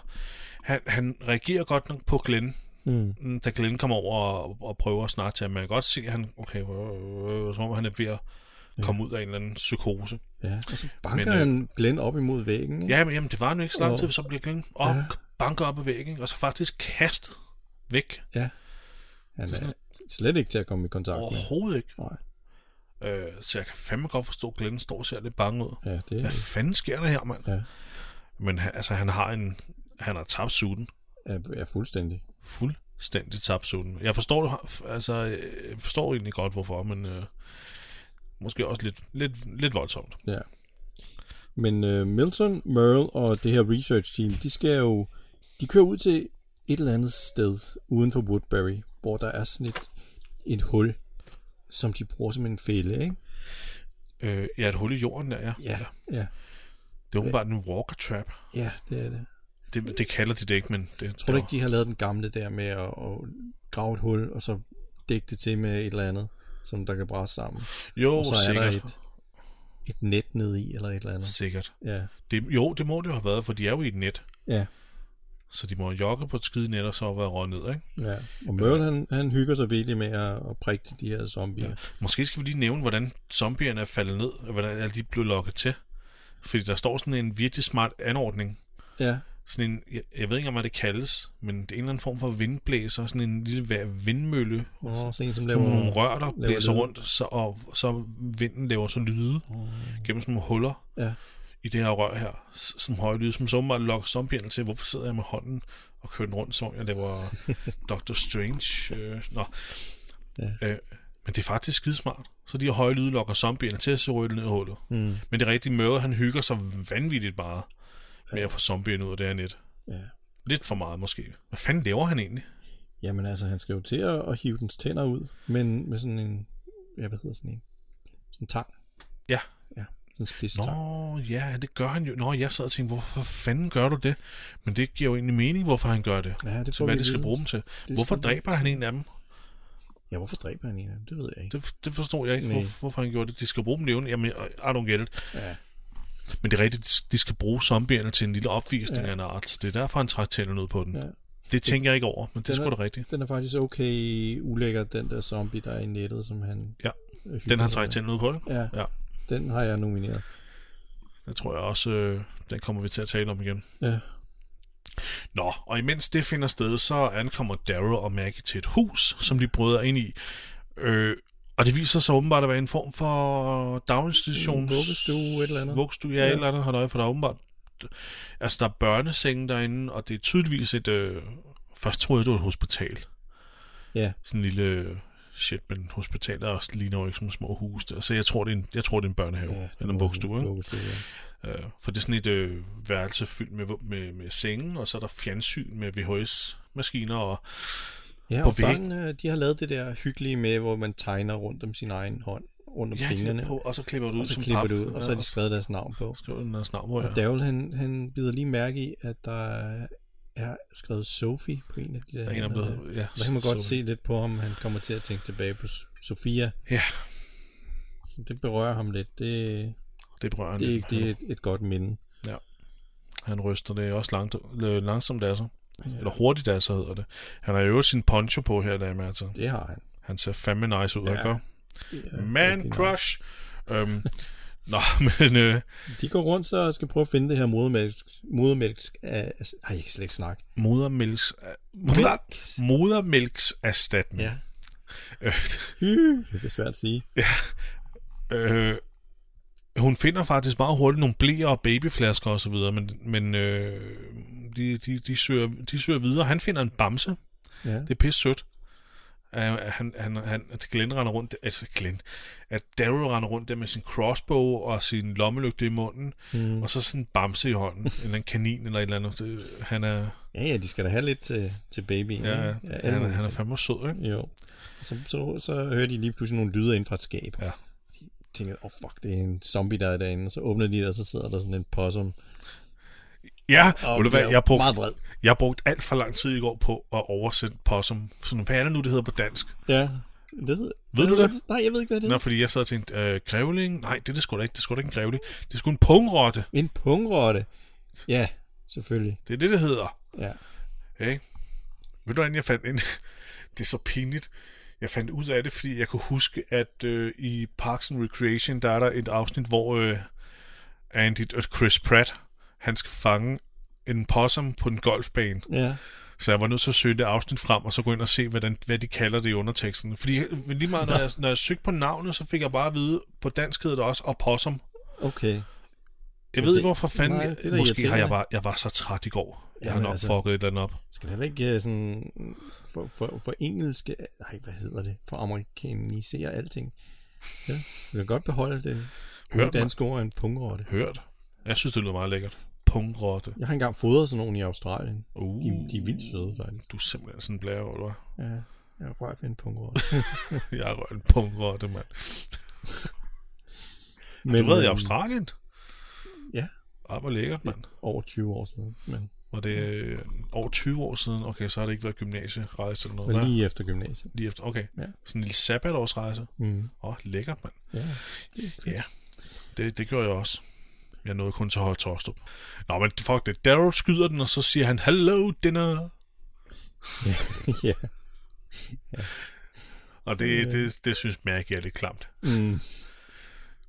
S1: han, han reagerer godt nok på Glenn,
S2: Mm.
S1: mm, da Glenn kommer over og, og prøver at snakke til ham. Man kan godt se, at han, okay, øh, øh, som om han er ved at komme ud af en eller anden psykose.
S2: Ja, og så banker
S1: Men, øh,
S2: han Glenn op imod væggen, ikke?
S1: Ja, men jamen, det var nu ikke så lang tid,
S2: Åh.
S1: så bliver Glenn op, ja. banker op ad væggen, ikke? og så faktisk kastet væk.
S2: ja. Han er slet ikke til at komme i kontakt med.
S1: Overhovedet ikke.
S2: Nej.
S1: Øh, så jeg kan fandme godt forstå, at Glenn står og ser lidt bange ud.
S2: Ja, det
S1: Hvad fanden sker der her, mand?
S2: Ja.
S1: Men han, altså, han har en... Han har tabt sutten.
S2: er, er fuldstændig.
S1: Fuldstændig tabt sutten. Jeg forstår, du har- altså, øh, jeg forstår egentlig godt, hvorfor, men øh, måske også lidt, lidt, lidt voldsomt.
S2: Ja. Men øh, Milton, Merle og det her research team, de skal jo, de kører ud til et eller andet sted uden for Woodbury, hvor der er sådan et, et hul, som de bruger som en fælde, ikke?
S1: Øh, ja, et hul i jorden der, ja.
S2: Ja, ja,
S1: Det er åbenbart en walker trap.
S2: ja, det er det.
S1: Det, det kalder de det ikke, men det
S2: Tror du
S1: det
S2: ikke, de har lavet den gamle der med at, at grave et hul, og så dække det til med et eller andet, som der kan brase sammen?
S1: var- Jo,
S2: og så er
S1: sikkert.
S2: der et, et net nede i, eller et eller andet.
S1: Sikkert.
S2: Ja,
S1: Det, jo, det må det jo have været, for de er jo i et net.
S2: ja.
S1: Så de må jo jogge på et skide net, og så være røget ned, ikke?
S2: ja. Og Merle, han, han hygger sig virkelig med at, at prikke til de her zombier.
S1: Måske skal vi lige nævne, hvordan zombierne er faldet ned, og hvordan er de blev lokket til. Fordi der står sådan en virkelig smart anordning,
S2: Ja,
S1: sådan en, jeg, jeg ved ikke engang, hvad det kaldes, men det er en eller anden form for vindblæser, sådan en lille hver- vindmølle,
S2: Nå, sådan en, som
S1: der
S2: laver...
S1: var nogle rør, der
S2: laver
S1: blæser
S2: lyde.
S1: rundt, så, og så vinden laver så lyde gennem sådan nogle huller
S2: Ja.
S1: i det her rør her, s- som høje lyde, som så meget lokker zombierne til, hvorfor sidder jeg med hånden og kører den rundt, som om jeg laver Doctor Strange. Øh, nå. Ja. Øh, men det er faktisk skidesmart. Så de her høje lyde lokker zombierne til at se rødt ned i hullet.
S2: Mm.
S1: Men det er rigtigt, Møre, han hygger sig vanvittigt bare med at få zombierne ud af det her net.
S2: Ja.
S1: Lidt for meget måske. Hvad fanden laver han egentlig?
S2: Jamen altså, han skal jo til at, at hive dens tænder ud, men med sådan en... Ja, hvad hedder sådan en? Sådan en tang.
S1: Ja.
S2: Ja, sådan en spids tang.
S1: Nå, ja, det gør han jo. Nå, jeg sad og tænkte, hvorfor fanden gør du det? Men det giver jo egentlig mening, hvorfor han gør det.
S2: Ja, det
S1: Så
S2: får
S1: hvad
S2: vi
S1: de skal
S2: vide.
S1: bruge dem til.
S2: skal
S1: Hvorfor
S2: vi-
S1: dræber han en af dem?
S2: Ja, hvorfor dræber han en af dem? Det ved jeg ikke.
S1: Det, det forstod jeg ikke,
S2: Nej.
S1: hvorfor, hvorfor han gjorde det. De skal bruge dem levende. Jamen, I don't get it.
S2: Ja.
S1: Men det er rigtigt, de skal bruge zombierne til en lille opvisning
S2: Ja.
S1: ja. af en art. Det er derfor, han trak tænderne ud på den.
S2: Ja.
S1: Ja. Det tænker jeg ikke over, men det er
S2: Den
S1: sgu
S2: er-
S1: da rigtigt.
S2: Den er faktisk okay ulækker, den der zombie, der er i nettet, som han...
S1: Ja,
S2: øh, hygger
S1: Den har
S2: sig
S1: trækket
S2: med.
S1: tænderne ud på, ikke?
S2: Ja,
S1: Ja.
S2: den har jeg nomineret.
S1: Det tror jeg også, øh, den kommer vi til at tale om igen.
S2: Ja.
S1: Nå, og imens det finder sted, så ankommer Daryl og Maggie til et hus, som de bryder ind i. Øh, og det viser sig åbenbart at være en form for daginstitution.
S2: En vuggestue, et eller andet.
S1: Vuggestue, ja, ja.
S2: Ja.
S1: et eller andet, halløj, for der er åbenbart... Altså, der er børnesenge derinde, og det er tydeligvis et... Øh, først troede jeg, det var et hospital.
S2: Ja.
S1: Sådan en lille... Shit, men hospitaler også ligner jo ikke som små hus der. Så jeg tror, det er en, jeg tror, det er en børnehave. Ja, eller en vuggestue, ikke?
S2: Vuggestue, ja.
S1: Øh, for det er sådan et øh, værelse fyldt med, med, med sengen, og så er der fjernsyn med VHS-maskiner, og
S2: Ja,
S1: På
S2: og
S1: væg-
S2: børnene, de har lavet det der hyggelige med, hvor man tegner rundt om sin egen hånd, rundt om
S1: ja,
S2: fingrene,
S1: de er på, og så klipper du ud
S2: og så
S1: som
S2: klipper
S1: pap.
S2: det ud, og så har
S1: Ja,
S2: de skrevet deres navn på.
S1: og så skriver den deres navn på, ja.
S2: Og Daryl, han, han bider lige mærke i, at der er skrevet Sophie på en af de der...
S1: Der er en af dem, der
S2: hænder
S1: hedder- ja,
S2: der kan man godt
S1: Sophie.
S2: se lidt på ham, han kommer til at tænke tilbage på S- Sofia.
S1: Ja,
S2: Så det berører ham lidt. Det,
S1: det berører han.
S2: det, er,
S1: lidt.
S2: ikke- det er et, et godt minde.
S1: Han ryster det også langt, øh, langsomt af sig. Eller hurtigt af sig hedder det. Han har jo sin poncho på her, der med, altså.
S2: Det har han.
S1: Han ser fandme nice ud,
S2: Ja,
S1: ja, ikke?
S2: Det er rigtig
S1: Man
S2: nice.
S1: crush! Øhm, Nå, men øh,
S2: De går rundt så og skal prøve at finde det her modermælks... modermælks af, altså, ej, jeg kan slet ikke snakke.
S1: modermælks...
S2: Mælks.
S1: Modermælkserstatning.
S2: Ja.
S1: Øh,
S2: Hy, det er svært at sige.
S1: Øh, hun finder faktisk meget hurtigt nogle blæer og babyflasker osv., men, men øh, de, de, de, søger, de søger videre. Han finder en bamse.
S2: Ja.
S1: Det er pisse sødt. Uh, han, han, han, at Glenn render rundt, altså Glenn, at Daryl render rundt der med sin crossbow og sin lommelygte i munden, mm. og så sådan en bamse i hånden, eller en kanin eller et eller andet. Det, han er,
S2: Ja, ja, de skal da have lidt til, til babyen.
S1: ja, ja,
S2: ikke? ja alle
S1: han, er-
S2: mulige
S1: han er
S2: ting.
S1: fandme sød, ikke?
S2: Jo. Og Så, så, så hører de lige pludselig nogle lyde ind fra et skab.
S1: Ja.
S2: De tænker, åh oh, fuck, det er en zombie, der er derinde. Og så åbner de det, og så sidder der sådan en possum.
S1: Ja,
S2: Og
S1: ved du hvad,
S2: bliver
S1: jeg brugte,
S2: meget vred.
S1: jeg brugte alt for lang tid i går på at oversætte possum. Sådan, hvad er det nu, det hedder på dansk?
S2: Ja. Det,
S1: Ved du det?
S2: Nej, jeg ved ikke, hvad det er.
S1: Nå, fordi jeg sad og tænkte, øh, grævling? Nej, det er det sgu da ikke. Det er sgu da ikke en grævling. Det er sgu en pungrotte.
S2: En pungrotte. Ja, selvfølgelig.
S1: Det er det, det hedder.
S2: Ja.
S1: Okay? Ved du, hvordan jeg fandt ind? det er så pinligt. Jeg fandt ud af det, fordi jeg kunne huske, at øh, i Parks and Recreation, der er der et afsnit, hvor øh, Andy, øh, Chris Pratt, han skal fange en possum på en golfbane.
S2: Ja.
S1: Så jeg var nødt til at søge det afsnit frem, og så gå ind og se, hvordan, hvad de kalder det i underteksten. Fordi øh, lige meget, når jeg, når jeg søgte på navnet, så fik jeg bare at vide, på dansk hedder det også opossum.
S2: Okay.
S1: Jeg
S2: Men
S1: ved
S2: det-
S1: ikke, hvorfor fanden...
S2: nej,
S1: jeg,
S2: det er da
S1: måske har jeg
S2: irriterende.
S1: bare... Jeg var så træt i går. Jeg har
S2: Jamen,
S1: nok
S2: altså-
S1: altså... fucket et eller andet op.
S2: Skal det ikke øh, sådan for, for, for engelske... Nej, hvad hedder det? For amerikanisere alting. Ja, vi kan godt beholde den
S1: Hørt
S2: gode
S1: mig.
S2: danske ord af en pungrotte.
S1: Hørt. Jeg synes, det lyder meget lækkert. Pungrotte.
S2: Jeg har engang fodret sådan nogen i Australien.
S1: Uh,
S2: De, de er vildt søde, faktisk.
S1: Du er simpelthen sådan en blære, hvor du er.
S2: Ja, jeg har rørt ved en pungrotte.
S1: Jeg er rørt en pungrotte, mand.
S2: Men,
S1: Du ved i
S2: øhm,
S1: Australien?
S2: ja.
S1: Ah, hvor lækkert, mand.
S2: Over 20 år siden. Men,
S1: Og det er øh, over 20 år siden. Okay, så har det ikke været gymnasierejse eller noget.
S2: men
S1: hva'?
S2: lige efter gymnasiet.
S1: Lige efter, okay.
S2: Ja.
S1: Ja. Sådan en lille sabbatårsrejse.
S2: Mm.
S1: Åh, oh, lækkert, mand.
S2: Ja, det er fedt.
S1: Ja. Det, det gjorde jeg også. Jeg nåede kun til Høje Torstrup. Nå, men fuck det. Daryl skyder den, og så siger han, Hello, dinner.
S2: ja.
S1: Og det, det, det synes Mærke er lidt klamt.
S2: Mm.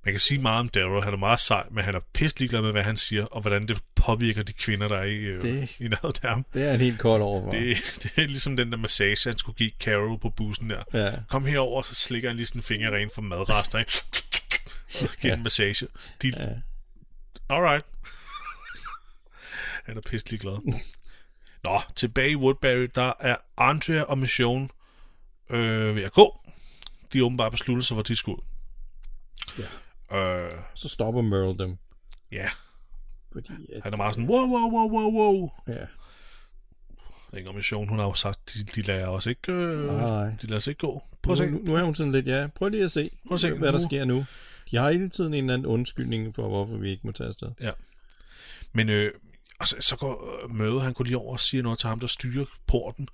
S1: Man kan sige meget om Daryl. Han er meget sej, men han er pisse ligeglad med, hvad han siger, og hvordan det påvirker de kvinder, der er i, øh,
S2: Det-
S1: det... i nærheden af ham.
S2: Det er en helt kort overfor.
S1: Det, det er ligesom den der massage, han skulle give Carol på bussen der.
S2: Ja.
S1: Kom herover, så slikker han lige sådan en finger ren for madrester, ikke? Og giver ja. en massage. De... Ja. Alright. han er pisse ligeglad. Nå, tilbage i Woodbury, der er Andrea og Mission øh, ved at gå. De har åbenbart besluttet sig, hvor de skulle. Ja. Øh,
S2: Så stopper Merle dem.
S1: ja,
S2: Fordi at,
S1: han er meget sådan, wow, wow, wow, wow, wow.
S2: Ja.
S1: Inger Mission, hun har jo sagt, de, de lader os ikke, øh,
S2: Nej, nej.
S1: de lader os ikke gå. Prøv
S2: Nu,
S1: at se.
S2: nu, nu er hun sådan lidt, ja, prøv lige at se,
S1: Prøv at se
S2: hvad der
S1: nu.
S2: sker nu. De har hele tiden en eller anden undskyldning for, hvorfor vi ikke må tage afsted.
S1: Men øh, altså, så går øh, møde, han går lige over og siger noget til ham, der styrer porten.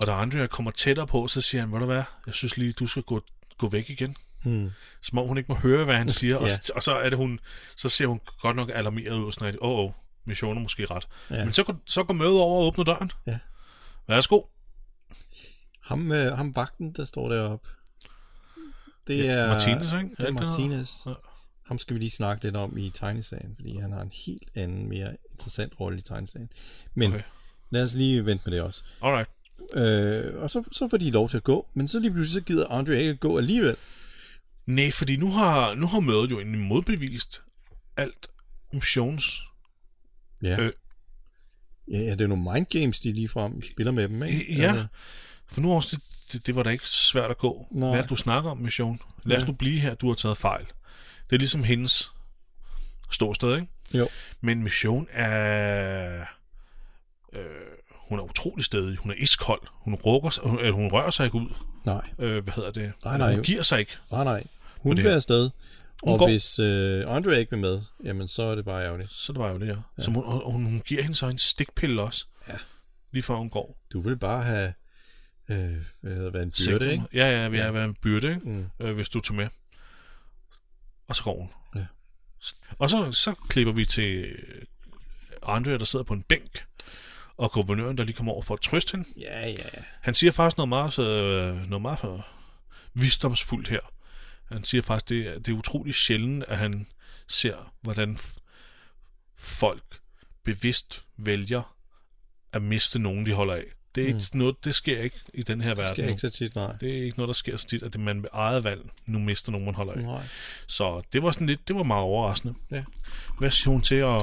S1: Og da Andrea kommer tættere på, så siger han, ved du hvad, jeg synes lige, du skal gå, gå væk igen.
S2: Hmm.
S1: Som om hun ikke må høre, hvad han siger. ja. og,
S2: Ja.
S1: s- og, så er det hun, så ser hun godt nok alarmeret ud, sådan at, åh, oh, oh, missionen er måske ret.
S2: Ja.
S1: Ja. Men så, går- så går møde over og åbner døren.
S2: Ja.
S1: Værsgo.
S2: Ham, øh, ham vagten, der står deroppe, det
S1: Ja,
S2: er...
S1: Martinez, ikke? Er
S2: Det
S1: det
S2: er
S1: ikke
S2: Martinez.
S1: den hedder?
S2: Ham skal vi lige snakke lidt om i tegnesagen, fordi han har en helt anden, mere interessant rolle i tegnesagen. Men okay.
S1: Okay.
S2: lad os lige vente med det også.
S1: Alright.
S2: Øh, og så, så får de lov til at gå, men så lige pludselig så gider Andre ikke at gå alligevel.
S1: Nej, fordi nu har, nu har mødet jo egentlig modbevist alt missions.
S2: Ja.
S1: Øh.
S2: Ja, ja, det er nogle mindgames, de ligefrem spiller med dem, ikke? Altså,
S1: Ja. For nu også, det, det, det var da ikke svært at gå.
S2: Nej.
S1: Nej. Hvad er det, du snakker om, mission? Lad os
S2: Ja.
S1: nu blive her, du har taget fejl. Det er ligesom hendes ståsted, ikke?
S2: Jo.
S1: Men mission er... Øh, hun er utrolig stedig. Hun er iskold. Hun, rukker, sig- hun, øh, hun rører sig ikke ud.
S2: Nej,
S1: Øh, hvad hedder det?
S2: Nej, nej.
S1: Hun giver sig ikke.
S2: nej, nej. Hun
S1: det
S2: vil
S1: her.
S2: afsted,
S1: Hun
S2: og
S1: går.
S2: hvis øh, Andre ikke vil med, jamen så er det bare ærgerligt.
S1: Så det var jo det, ja. ja. Så hun, og hun, hun giver hende så en stikpille også. Ja. Lige før hun går.
S2: Du vil bare have, øh, hvad hedder det, en byrde, ikke?
S1: Ja, ja, vi har været en byrde, ikke?
S2: Mm.
S1: øh, hvis du tog med. Og så går hun.
S2: Ja.
S1: Og så, så klipper vi til øh, Andrea, der sidder på en bænk, og guvernøren, der lige kommer over for at trøste hende.
S2: Ja, ja, ja.
S1: Han siger faktisk noget meget, så, øh, noget meget for visdomsfuldt her. Han siger faktisk, det, er- det er utroligt sjældent, at han ser, hvordan f- folk bevidst vælger at miste nogen, de holder af. Det er ikke mm. noget, det sker ikke i den her
S2: Det
S1: verden.
S2: sker
S1: nu.
S2: ikke så tit, nej.
S1: Det er ikke noget, der sker så tit, at det man med eget valg nu mister nogen, man holder af.
S2: Nej.
S1: Så det var sådan lidt, det var meget overraskende.
S2: Mm. Ja.
S1: Hvad siger hun til at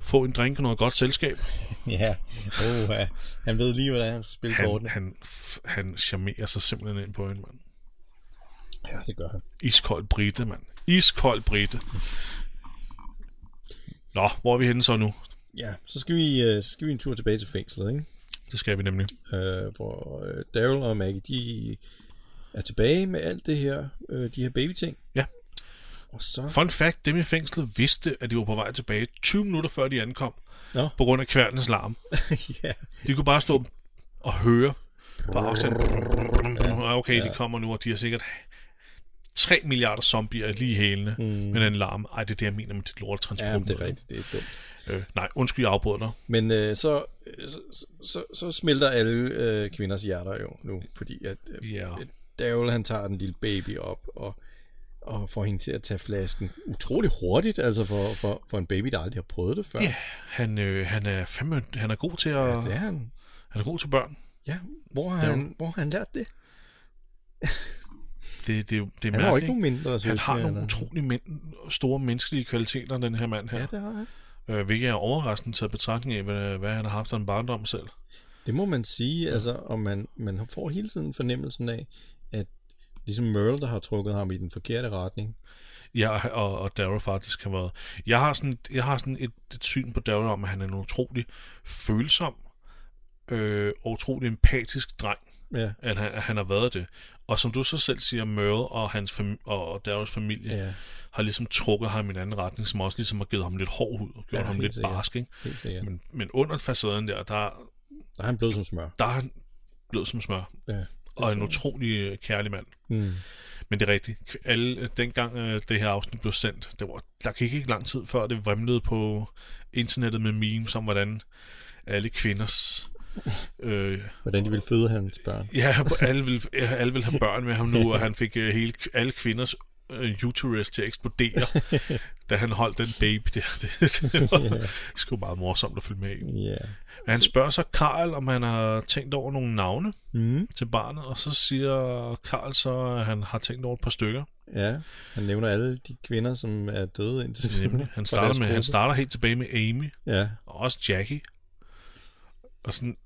S1: få en drink og noget godt selskab?
S2: Ja, oh, ja. han ved lige, hvordan han skal spille
S1: Han,
S2: kortene.
S1: han, f- han charmerer sig simpelthen ind på en mand.
S2: Ja, det gør han.
S1: Iskold brite, mand. Iskold brite. Nå, hvor er vi henne så nu?
S2: Ja, så skal vi, øh, så skal vi en tur tilbage til fængslet, ikke?
S1: Det skal vi nemlig.
S2: øh, hvor øh, Daryl og Maggie, de er tilbage med alt det her, øh, de her babyting.
S1: Ja.
S2: Og så...
S1: Fun fact, dem i fængslet vidste, at de var på vej tilbage 20 minutter før de ankom,
S2: Nå,
S1: på grund af kværnenes larm.
S2: ja.
S1: De kunne bare stå og høre på afstand. Ja, Okay, de kommer nu, og de har sikkert 3 milliarder zombier lige i hælene mm. med den larm. Ej, det er det, jeg mener med dit lortetransport.
S2: Ja, men det er rigtigt, det er dumt.
S1: Øh, nej, undskyld, jeg afbryder dig.
S2: Men øh, så, så, så, så smelter alle øh, kvinders hjerter jo nu, fordi at øh,
S1: Ja.
S2: yeah. Daryl, han tager den lille baby op og, og får hende til at tage flasken utrolig hurtigt, altså for, for, for en baby, der aldrig har prøvet det før.
S1: Ja, han, øh, han, er fandme, han er god til at,
S2: Det er han.
S1: han er god til børn.
S2: Ja, hvor har, han, hvor har han lært det?
S1: Det, det, det er
S2: Han
S1: mærkeligt.
S2: har jo ikke nogen mindre
S1: altså, han har
S2: søskende,
S1: nogle
S2: eller-
S1: utrolig men- store menneskelige kvaliteter, den her mand her.
S2: Ja, det har han.
S1: Øh, hvilket er overraskende taget i betragtning af, hvad, hvad han har haft af en barndom selv.
S2: Det må man sige, altså, og man, man får hele tiden fornemmelsen af, at ligesom Merle, der har trukket ham i den forkerte retning.
S1: Ja, og, og Daryl faktisk har været... Jeg har sådan, jeg har sådan et, et syn på Daryl om, at han er en utrolig følsom øh, og utrolig empatisk dreng,
S2: Ja,
S1: at han, at han har været det. Og som du så selv siger, Merle og, hans fam- og Daryls familie
S2: ja,
S1: har ligesom trukket ham i en anden retning, som også ligesom har givet ham lidt hård ud og gjort
S2: Ja,
S1: ja, ham
S2: helt
S1: lidt
S2: sikkert.
S1: barsk. Ikke?
S2: helt sikkert.
S1: Men, men under facaden der, der,
S2: Der er han blød som smør.
S1: der er han blød som smør.
S2: Ja.
S1: Og en utrolig øh, kærlig mand.
S2: Mm.
S1: Men det er rigtigt. Kv- Alle, dengang øh, det her afsnit blev sendt, det var, der gik ikke lang tid før, det vrimlede på internettet med memes om, hvordan alle kvinders... Øh,
S2: Hvordan de vil føde hans børn.
S1: ja, alle ville, ja, alle ville have børn med ham nu, og han fik øh, hele, alle kvinders øh, uterus til at eksplodere, da han holdt den baby der. Det, det var yeah. sgu meget morsomt at følge med i. Men
S2: Ja.
S1: han spørger så Karl, om han har tænkt over nogle navne
S2: Mm.
S1: til barnet, og så siger Karl så, at han har tænkt over et par stykker.
S2: Ja, han nævner alle de kvinder, som er døde indtil
S1: Nemlig. Han
S2: fra deres
S1: starter, med, han
S2: gruppe.
S1: starter helt tilbage med Amy,
S2: Ja,
S1: og også Jackie. Og sådan,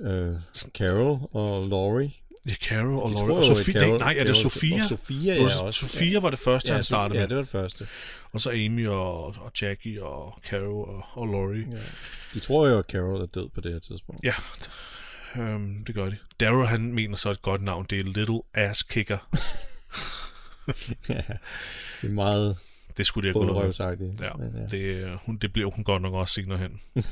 S2: øh, Carol og Laurie.
S1: ja, Caro og
S2: De
S1: Laura.
S2: tror
S1: Og
S2: jo, at
S1: Sofie, nej,
S2: Carol-
S1: nej, er det
S2: Carol-
S1: Sofia?
S2: Og Sofia,
S1: Det var-
S2: ja, også.
S1: Sofia var det første,
S2: ja,
S1: han
S2: så-
S1: startede
S2: ja,
S1: med.
S2: det var det første.
S1: Og så Amy og, og Jackie og Caro og, og Laurie.
S2: Ja. De tror jo, at Carol er død på det her tidspunkt.
S1: Ja, øhm, det gør de. Daryl, han mener så et godt navn. Det er Little Ass Kicker.
S2: Ja. Det er meget
S1: Det skulle det have gået med.
S2: bunderøvsagtigt.
S1: Ja,
S2: Men,
S1: det, øh, hun, det bliver hun godt nok også senere hen.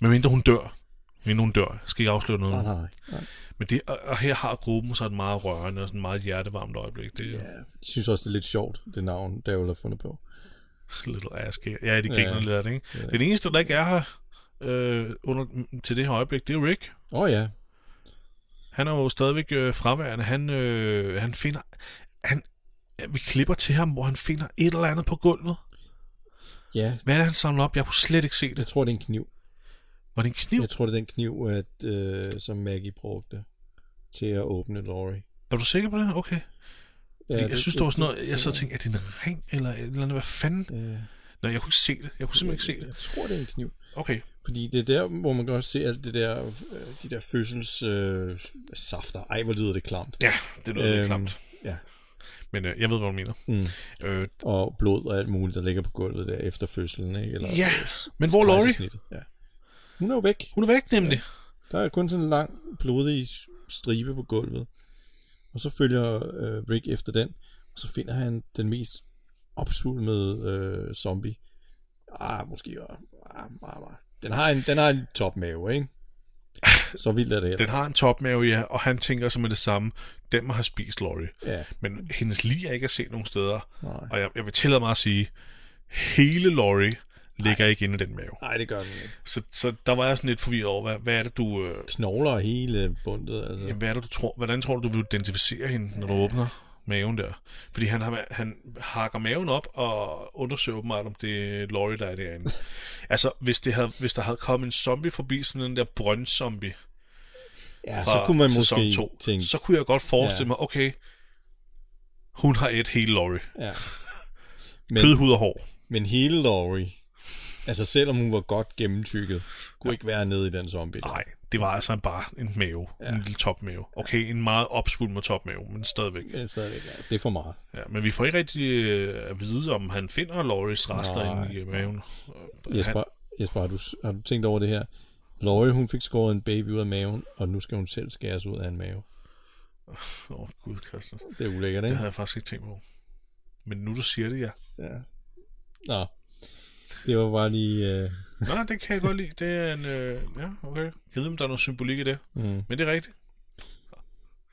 S1: Men mindre hun dør. Mindre hun dør. Jeg skal ikke afsløre noget.
S2: Nej, nej, nej.
S1: Men det, og- og her har gruppen så et meget rørende og sådan meget hjertevarmt øjeblik. Det er
S2: Ja, jeg synes også, det er lidt sjovt, det navn, Daryl har fundet på.
S1: little ass kicker. Ja, de griner
S2: Ja.
S1: ja. lidt af det, ikke? Den eneste, der ikke er her øh, under, til det her øjeblik, det er Rick.
S2: Åh oh, ja,
S1: Han er jo stadigvæk øh, fraværende. Han, øh, han finder... Han, ja, vi klipper til ham, hvor han finder et eller andet på gulvet.
S2: ja,
S1: Hvad er det, han samler op? Jeg kunne slet ikke se
S2: jeg
S1: det.
S2: tror, det er en kniv.
S1: Var det en kniv?
S2: Jeg tror, det er den kniv, at, øh, som Maggie brugte til at åbne Laurie.
S1: Er du sikker på det? Okay. Ja, jeg synes, det var sådan noget... Jeg så tænkte, er det en ring eller et eller andet? Hvad fanden?
S2: Øh,
S1: Nej, jeg kunne ikke se det. Jeg kunne simpelthen ikke se det.
S2: jeg tror, det er en kniv.
S1: Okay.
S2: Fordi det er der, hvor man kan også se alt det der, øh, de der fødsels øh, safter. Ej, hvor lyder det klamt.
S1: Ja, det lød øhm, lidt
S2: Øhm,
S1: klamt.
S2: ja.
S1: Men øh, jeg ved, hvad du mener.
S2: Mm.
S1: Øh,
S2: Og blod og alt muligt, der ligger på gulvet der efter fødslen. Ikke? Eller,
S1: Ja,
S2: øh,
S1: men hvor er Laurie?
S2: kejsersnittet. Ja. Hun er jo væk.
S1: Hun er væk nemlig.
S2: Der er kun sådan en lang, blodig stribe på gulvet. Og så følger øh, Rick efter den, og så finder han den mest opsvulmede øh, zombie. Ah, måske. Ah, ah, ah, ah. Den har en, den har en topmave, ikke? Så vildt er det heller.
S1: Den har en topmave, ja, og han tænker som med det samme, den må have spist Laurie.
S2: Ja,
S1: Men hendes lige er ikke at se nogen steder.
S2: nej.
S1: Og jeg, jeg vil tillade mig at sige, hele Laurie ligger ikke inde i den mave.
S2: Nej, det gør den ikke.
S1: Så, så der var jeg sådan lidt forvirret over, hvad, hvad er det, du... Øh,
S2: Knogler hele bundet, altså.
S1: jamen, hvad er det, du tror, hvordan tror du, du vil identificere hende, når du åbner maven der. Fordi han, har, han hakker maven op og undersøger åbenbart, om det er Laurie, der er derinde. altså, hvis, det havde, hvis der havde kommet en zombie forbi, sådan den der brøndzombie,
S2: Ja,
S1: fra
S2: så kunne man
S1: sæson
S2: måske
S1: to,
S2: tænke,
S1: så kunne jeg godt forestille
S2: Ja.
S1: mig, okay, hun har et hele Laurie.
S2: ja.
S1: Kød,
S2: Men,
S1: hud og hår.
S2: men hele Laurie, altså selvom hun var godt gennemtykket, kunne ikke være nede i den zombie. Der.
S1: Nej, det var altså bare en mave. Ja. En lille topmave. Okay, en meget opsvulmet topmave, men stadigvæk.
S2: Ja, Så, ja, det er for meget.
S1: Ja, men vi får ikke rigtig øh, at vide, om han finder Loris rester
S2: Nej.
S1: inde i øh, maven.
S2: Jesper, Jesper har, du, har du tænkt over det her? Laurie, hun fik skåret en baby ud af maven, og nu skal hun selv skæres ud af en mave.
S1: Han- Åh, oh, gud, Christian.
S2: Det er ulækkert,
S1: Det
S2: ikke?
S1: havde jeg faktisk ikke tænkt på. Men nu du siger det, ja.
S2: Ja. Nå, det var bare lige... Øh,
S1: Nej, det kan jeg godt lide. Det er en... Øh, ja, okay. Jeg ved, om der er noget symbolik i det.
S2: mm.
S1: Men det er rigtigt.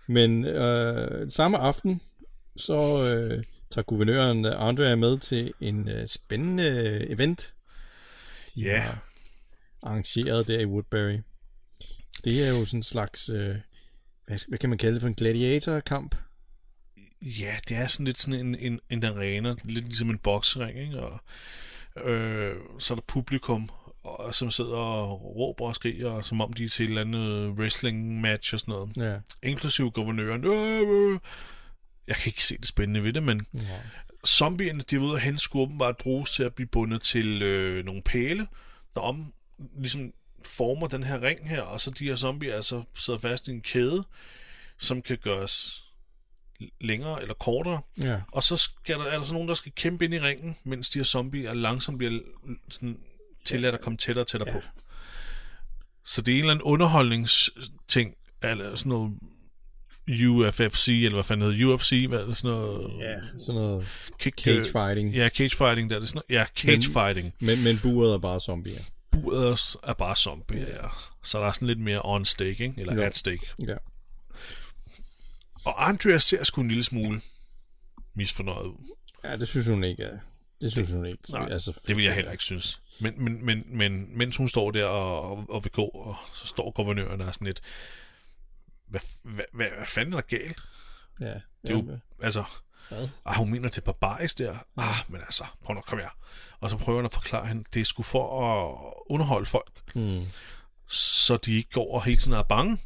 S2: Men øh, samme aften, så øh, tager guvernøren øh, Andrea med til en øh, spændende øh, event, de
S1: Ja.
S2: har arrangeret der i Woodbury. Det er jo sådan en slags, øh, hvad, hvad kan man kalde det for en gladiatorkamp?
S1: Ja, det er sådan lidt sådan en, en, en arena, lidt ligesom en boksering, ikke? Og, øh, så er der publikum, og, som sidder og råber og skriger, som om de er til et eller andet wrestling-match og sådan noget.
S2: Ja.
S1: Inklusiv guvernøren. Øh, øh. Jeg kan ikke se det spændende ved det, men
S2: Nå.
S1: zombierne, de ved at hen skulle åbenbart bruges til at blive bundet til øh, nogle pæle, der om ligesom former den her ring her, og så de her zombier altså sidder fast i en kæde, som kan gøres længere eller kortere,
S2: Ja.
S1: og så skal der, er der så nogen, der skal kæmpe ind i ringen, mens de her zombier langsomt bliver l- sådan, tilladt at komme tættere og tættere ja. på. Så det er en eller anden underholdningsting, eller sådan noget UFFC, eller hvad fanden hedder UFC, hvad er det, sådan noget
S2: ja, Øh, sådan noget
S1: kick,
S2: cage fighting.
S1: Ja, cagefighting, der er det sådan noget. Ja, cagefighting.
S2: Men, men buret er bare zombier.
S1: Buret os er bare zombier, ja. Så der er sådan lidt mere on stake, ikke? Eller
S2: Ja.
S1: at stake.
S2: Ja.
S1: Og Andrea ser sgu en lille smule misfornøjet ud.
S2: ja, det synes hun ikke er. Det synes hun ikke.
S1: nej,
S2: altså,
S1: Det vil jeg heller ikke synes. Men, men, men, men mens hun står der og, og, og vil gå, og så står guvernøren og er sådan lidt, hvad, hvad, hvad, hvad fanden er der galt?
S2: Ja,
S1: Det er jo, altså,
S2: Hvad?
S1: ah, hun mener, det er barbarisk der. Ah, men altså, prøv nu, kom her. Og så prøver han at forklare hende, det er sgu for at underholde folk.
S2: Mm.
S1: så de ikke går og hele tiden er bange.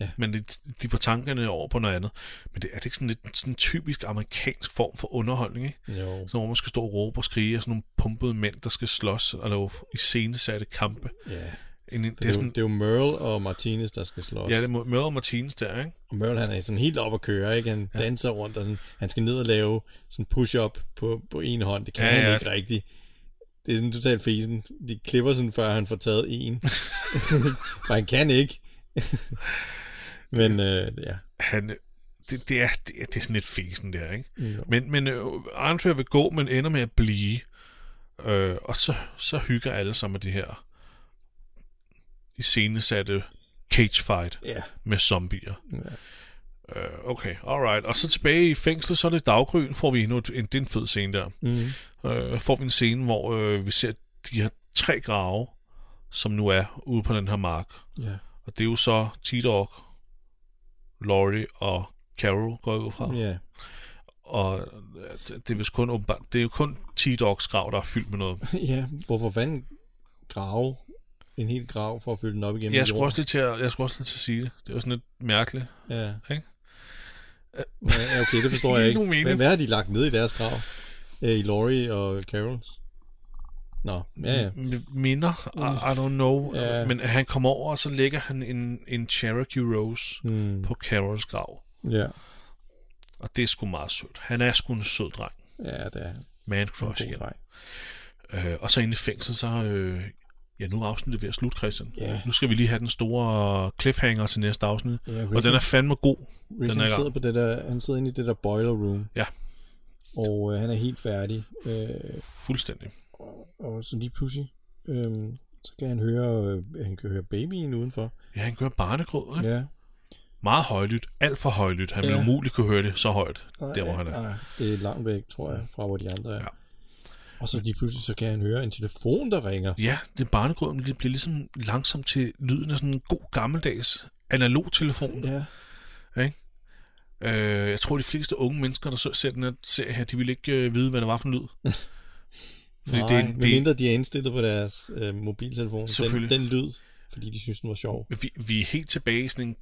S2: Ja.
S1: Men de, de får tankerne over på noget andet. Men det er det ikke sådan lidt sådan en typisk amerikansk form for underholdning, ikke?
S2: Jo.
S1: Sådan, hvor man skal stå og råbe og skrige, og sådan nogle pumpede mænd, der skal slås, eller i scenesatte kampe.
S2: Ja.
S1: En, det,
S2: Det
S1: det er
S2: er, jo,
S1: sådan,
S2: det er jo Merle og Martinez, der skal slås.
S1: ja, det er Møder Martins der, ikke?
S2: Og Merle, han er sådan helt op at køre, ikke? Han ja. danser rundt, og sådan, han skal ned og lave sådan push-up på, på en hånd. Det kan
S1: Ja,
S2: ja, han
S1: ja.
S2: ja. ikke rigtigt. Det er sådan totalt fesen. De klipper sådan, før han får taget en. For han kan ikke. Men øh, ja.
S1: Han, øh, det, det, er, det, er, det er sådan lidt fesen der, ikke?
S2: Jo.
S1: Men, men øh, Andrea vil gå, men ender med at blive. Øh, og så, så hygger alle sig med det her iscenesatte cage fight.
S2: Ja.
S1: med zombier. Ja. Øh, okay, alright. Og så tilbage i fængslet, så er det daggry, får vi endnu et- en, det er en fed scene der.
S2: Mm.
S1: Øh, får vi en scene, hvor øh, vi ser de her tre grave, som nu er ude på den her mark.
S2: ja.
S1: Og det er jo så T-Dog, Laurie og Carol går jeg ud fra. Ja.
S2: Ja.
S1: Og øh, det, det er vist kun åbenbart, det er jo kun T-Dogs grav, der er fyldt med noget.
S2: ja. Hvorfor fanden grave en hel grav for at fylde den op igennem
S1: Jeg skulle,
S2: jorden?
S1: også lige til at, jeg skulle også lige til at sige det. Det var sådan lidt mærkeligt.
S2: Ja.
S1: Ikke?
S2: Ja, okay, det forstår
S1: Det giver
S2: jeg
S1: ikke
S2: ikke.
S1: nogen mening.
S2: Hvad, hvad har de lagt ned i deres grav? Øh, I Laurie og Carols? Nå, ja, ja.
S1: m- minder, I, I don't know.
S2: Ja.
S1: Men han kommer over, og så lægger han en, en Cherokee Rose
S2: Mm,
S1: på Carols grav.
S2: ja.
S1: Og det er sgu meget sødt. Han er sgu en sød dreng.
S2: ja, det er en
S1: Man crush
S2: god
S1: igen.
S2: dreng.
S1: Øh, og så inde i fængsel, så... Øh, ja, nu er afsnittet ved at slutte, Christian.
S2: Ja.
S1: Nu skal vi lige have den store cliffhanger til næste afsnit.
S2: Ja,
S1: og den er fandme god.
S2: Rick,
S1: den er
S2: han,
S1: i gang.
S2: sidder på det der, han sidder inde i det der boiler room.
S1: Ja.
S2: Og øh, han er helt færdig. Øh,
S1: Fuldstændig.
S2: og så lige pludselig, øh, så kan han høre, øh, han kan høre babyen udenfor.
S1: Ja, han kører barnegråd, ikke? Ja.
S2: Ja.
S1: Meget højlydt. Alt for højlydt. Han ja. ville
S2: Ja.
S1: umuligt kunne høre det så højt, der hvor han er.
S2: Nej, det er langt væk, tror jeg, fra hvor de andre er.
S1: Ja.
S2: Ja. Og så lige pludselig, så kan han høre en telefon, der ringer.
S1: Ja, det barnegrøden det bliver ligesom langsomt til lyden af sådan en god gammeldags analog telefon.
S2: Ja.
S1: Ikke? Øh, jeg tror, de fleste unge mennesker, der så- ser den her serie her, de ville ikke øh, vide, hvad det var for en lyd. Fordi
S2: Nej,
S1: det, er
S2: det,
S1: en-
S2: det...
S1: det,
S2: mindre de er indstillet på deres øh, mobiltelefon. Den,
S1: Selvfølgelig.
S2: den lyd, fordi de synes, den var sjov.
S1: vi, vi er helt tilbage i sådan en,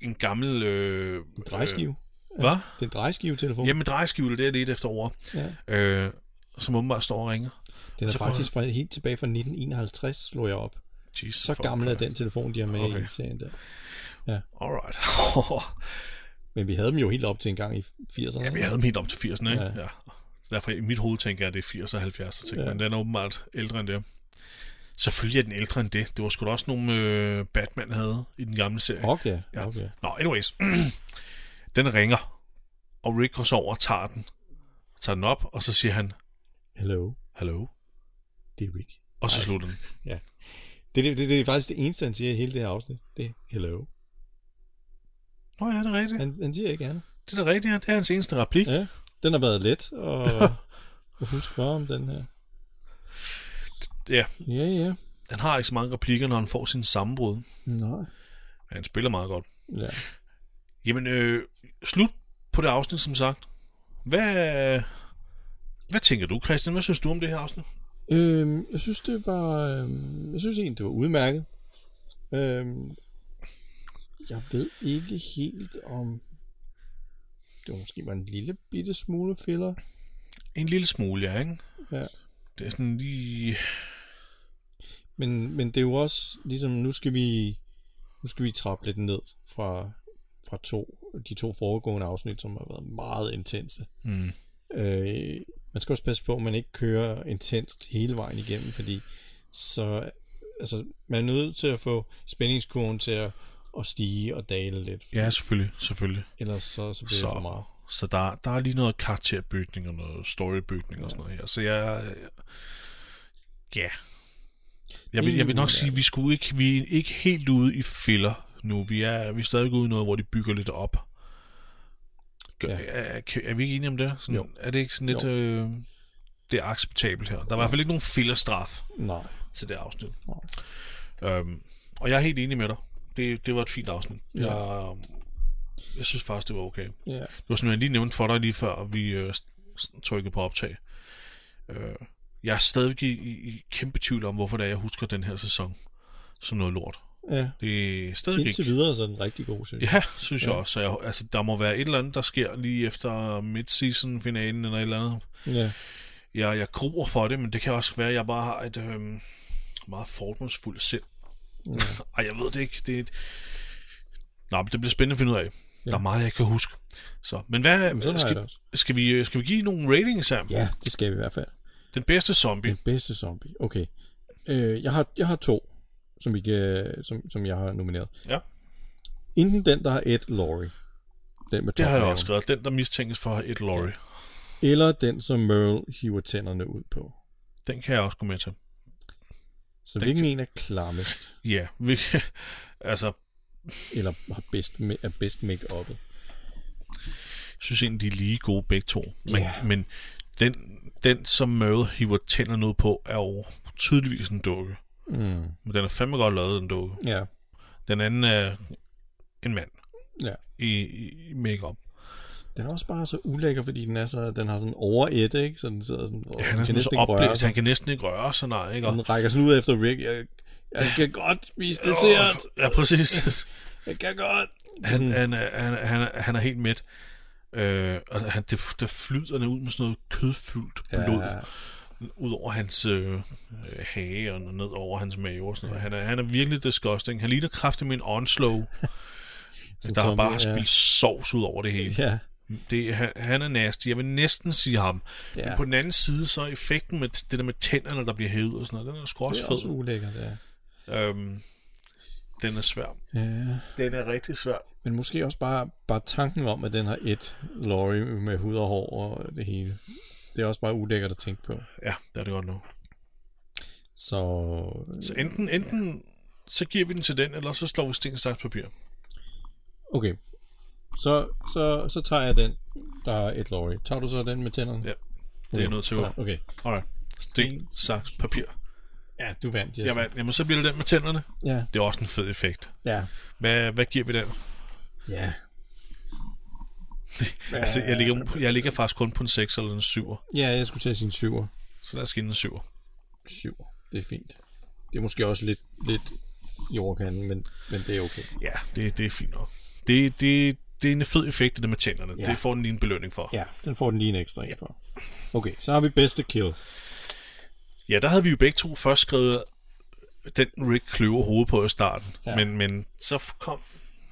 S1: en gammel... Øh,
S2: En drejeskive.
S1: Øh, hvad?
S2: Det er en drejeskivetelefon.
S1: Jamen, drejeskive, det er det efter over.
S2: Ja.
S1: Øh, som åbenbart står og ringer.
S2: Den er
S1: så prøver
S2: faktisk fra, helt tilbage fra 1951, slog jeg op.
S1: Jesus,
S2: Så
S1: fuck
S2: gammel er
S1: Christ.
S2: den telefon, de har med okay.
S1: Okay.
S2: i serien der.
S1: Alright.
S2: Men vi havde dem jo helt op til en gang i 80'erne.
S1: Jamen, jeg havde dem helt op til 80'erne, ikke?
S2: Ja.
S1: Ja. ja. Derfor i mit hoved tænker jeg, at det er 80'er og 70'er ting,
S2: Ja.
S1: ja. men den er åbenbart ældre end det. Selvfølgelig er den ældre end det. Det var sgu da også nogle øh, Batman havde i den gamle serie.
S2: Okay,
S1: Ja.
S2: okay.
S1: Nå, anyways. den ringer, og Rick går så over og tager den. Tager den op, og så siger han,
S2: Hello,
S1: hallo,
S2: det er Rick.
S1: og så
S2: Ej.
S1: slutter den.
S2: Det, er det, det, det er faktisk det eneste, han siger i hele det her afsnit. Det er hello.
S1: Nå ja, det er rigtigt.
S2: Han, han siger ikke andet.
S1: Det er da rigtigt, ja. Det er hans eneste replik.
S2: Ja, den har været let og, og husk bare om den her.
S1: Ja.
S2: Ja, ja.
S1: Han har ikke så mange replikker, når han får sin sammenbrud.
S2: Nej.
S1: Men han spiller meget godt.
S2: Ja.
S1: Jamen, øh, slut på det afsnit, som sagt. Hvad, hvad tænker du, Christian? Hvad synes du om det her afsnit?
S2: Øhm, jeg synes, det var... Øhm, jeg synes egentlig, det var udmærket. Øhm, jeg ved ikke helt om... Det var måske var en lille bitte smule filler.
S1: En lille smule, ja, ikke?
S2: Ja.
S1: Det er sådan lige...
S2: Men, men det er jo også ligesom, nu skal vi, nu skal vi trappe lidt ned fra, fra to, de to foregående afsnit, som har været meget intense.
S1: Mm,
S2: Øh, man skal også passe på, at man ikke kører intenst hele vejen igennem, fordi så, altså, man er nødt til at få spændingskurven til at, at stige og dale lidt,
S1: ja, selvfølgelig, selvfølgelig.
S2: ellers så, så bliver det
S1: Så.
S2: for meget.
S1: Så der, der er lige noget karakterbygning og noget storybygning ja. og sådan noget her. Så jeg... Ja. Jeg vil, jeg vil nok sige, at vi, skulle ikke, vi er ikke helt ude i filler nu. Vi er, vi er stadig ude i noget, hvor de bygger lidt op. Gør,
S2: Ja.
S1: ja. er, er, er vi ikke enige om det? Sådan,
S2: Jo.
S1: Er det ikke sådan lidt...
S2: Jo.
S1: Øh, det er acceptabelt her. Der er i hvert fald ikke nogen fillerstraf
S2: Nej.
S1: til det afsnit. Øhm, og jeg er helt enig med dig. Det, det var et fint afsnit.
S2: Ja.
S1: Ja. Jeg, jeg synes faktisk, det var okay.
S2: Ja.
S1: Det var som jeg lige nævnte for dig lige før, og vi øh, s- s- trykkede på optag. Øh, jeg er stadig i, i, i kæmpe tvivl om, hvorfor det er, jeg husker den her sæson som noget lort.
S2: ja.
S1: Det er stadig
S2: Indtil
S1: ikke...
S2: videre så er den rigtig god, synes jeg.
S1: Ja, synes ja.
S2: Ja.
S1: jeg også. Så jeg, altså, der må være et eller andet, der sker lige efter midseason-finalen eller et eller andet.
S2: Ja.
S1: Jeg, jeg gruer for det, men det kan også være, at jeg bare har et øh, meget fordomsfuldt sind.
S2: Ja.
S1: Ej, jeg ved det ikke. Det er et... Nå, men det bliver spændende at finde ud af. Ja. Der er meget, jeg kan huske. Så, men hvad,
S2: Jamen, sådan har jeg det
S1: skal,
S2: også.
S1: skal, vi, øh, skal vi give nogle ratings her?
S2: Ja, det skal vi i hvert fald.
S1: Den bedste zombie.
S2: Den bedste zombie. Okay. Øh, jeg, har, jeg har to, som, vi kan, som, som jeg har nomineret.
S1: Ja.
S2: Enten den, der har Ed Laurie. Den med
S1: Det har jeg
S2: topmaven,
S1: også skrevet. Den, der mistænkes for et lorry.
S2: Eller den, som Merle hiver tænderne ud på.
S1: Den kan jeg også gå med til.
S2: Så
S1: Den
S2: hvilken en er klammest?
S1: Ja, vi, altså,
S2: Eller har bedst, ma- er bedst make-up'et?
S1: jeg synes egentlig, de er lige gode begge to. Men,
S2: Ja.
S1: men den, den, som Merle hiver tænderne ud på, er jo tydeligvis en dukke.
S2: Mm.
S1: Men den er fandme godt lavet, den dukke.
S2: Ja.
S1: Den anden er en mand
S2: ja.
S1: i, i- i make-up.
S2: Den er også bare så ulækker, fordi den, er så, den har sådan over et, ikke? Så den sidder sådan... Åh,
S1: Ja,
S2: den
S1: han er sådan så
S2: ikke røre
S1: oplæst,
S2: sig.
S1: han kan næsten ikke røre sig, nej, ikke? Og-
S2: Den rækker sådan ud efter Rick. Jeg, jeg kan godt spise dessert.
S1: Ja, præcis.
S2: Jeg kan godt.
S1: Han, han, er- han, er- han, er- han er helt mæt. Øh, og han, det, der flyder ned ud med sådan noget kødfyldt blod
S2: Ja,
S1: ud over hans øh, øh, hage og ned over hans mave og sådan noget. Han er, han er virkelig disgusting. Han ligner kraftigt med en onslow,
S2: som
S1: der
S2: zombie,
S1: bare har
S2: ja.
S1: spildt sovs ud over det hele.
S2: Ja,
S1: Det, han, han er nasty. Jeg vil næsten sige ham.
S2: Ja.
S1: Men på den anden side, så er effekten med det der med tænderne, der bliver hævet og sådan noget, den er sgu
S2: det
S1: også
S2: er
S1: fed.
S2: også ulækkert, ja.
S1: Øhm, den er svær.
S2: ja.
S1: Den er rigtig svær.
S2: Men måske også bare, bare tanken om, at den har et Laurie med hud og hår og det hele. Det er også bare ulækkert at tænke på.
S1: Ja, det er det godt nu.
S2: Så
S1: Så enten, enten så giver vi den til den, eller så slår vi sten, saks, papir.
S2: okay, så, så, så tager jeg den, der er et Laurie. Tager du så den med tænderne?
S1: Ja, Det er jeg nødt til at
S2: Okay.
S1: gøre.
S2: okay.
S1: Alright. Sten, saks, papir.
S2: Ja, du vandt, Jesper.
S1: Jamen, jamen, så bliver det den med tænderne.
S2: Ja,
S1: Det er også en fed effekt.
S2: ja,
S1: Hvad, hvad giver vi den?
S2: ja.
S1: Ja, altså, jeg ligger, jeg ligger faktisk kun på en 6 eller en 7.
S2: Ja, jeg skulle tage sin syver.
S1: Så der skal en 7.
S2: Syver, det er fint. Det er måske også lidt, lidt i overkanten, men, men det er okay.
S1: Ja, det, det er fint nok. Det, det, det er en fed effekt, det der med tænderne.
S2: Ja.
S1: Ja. Det får den lige en belønning for. Ja.
S2: Ja, den får den lige en ekstra ja. for. Okay, så har vi bedste kill.
S1: ja, der havde vi jo begge to først skrevet den Rick kløver hovedet på i starten.
S2: Ja.
S1: Ja. Men, men så kom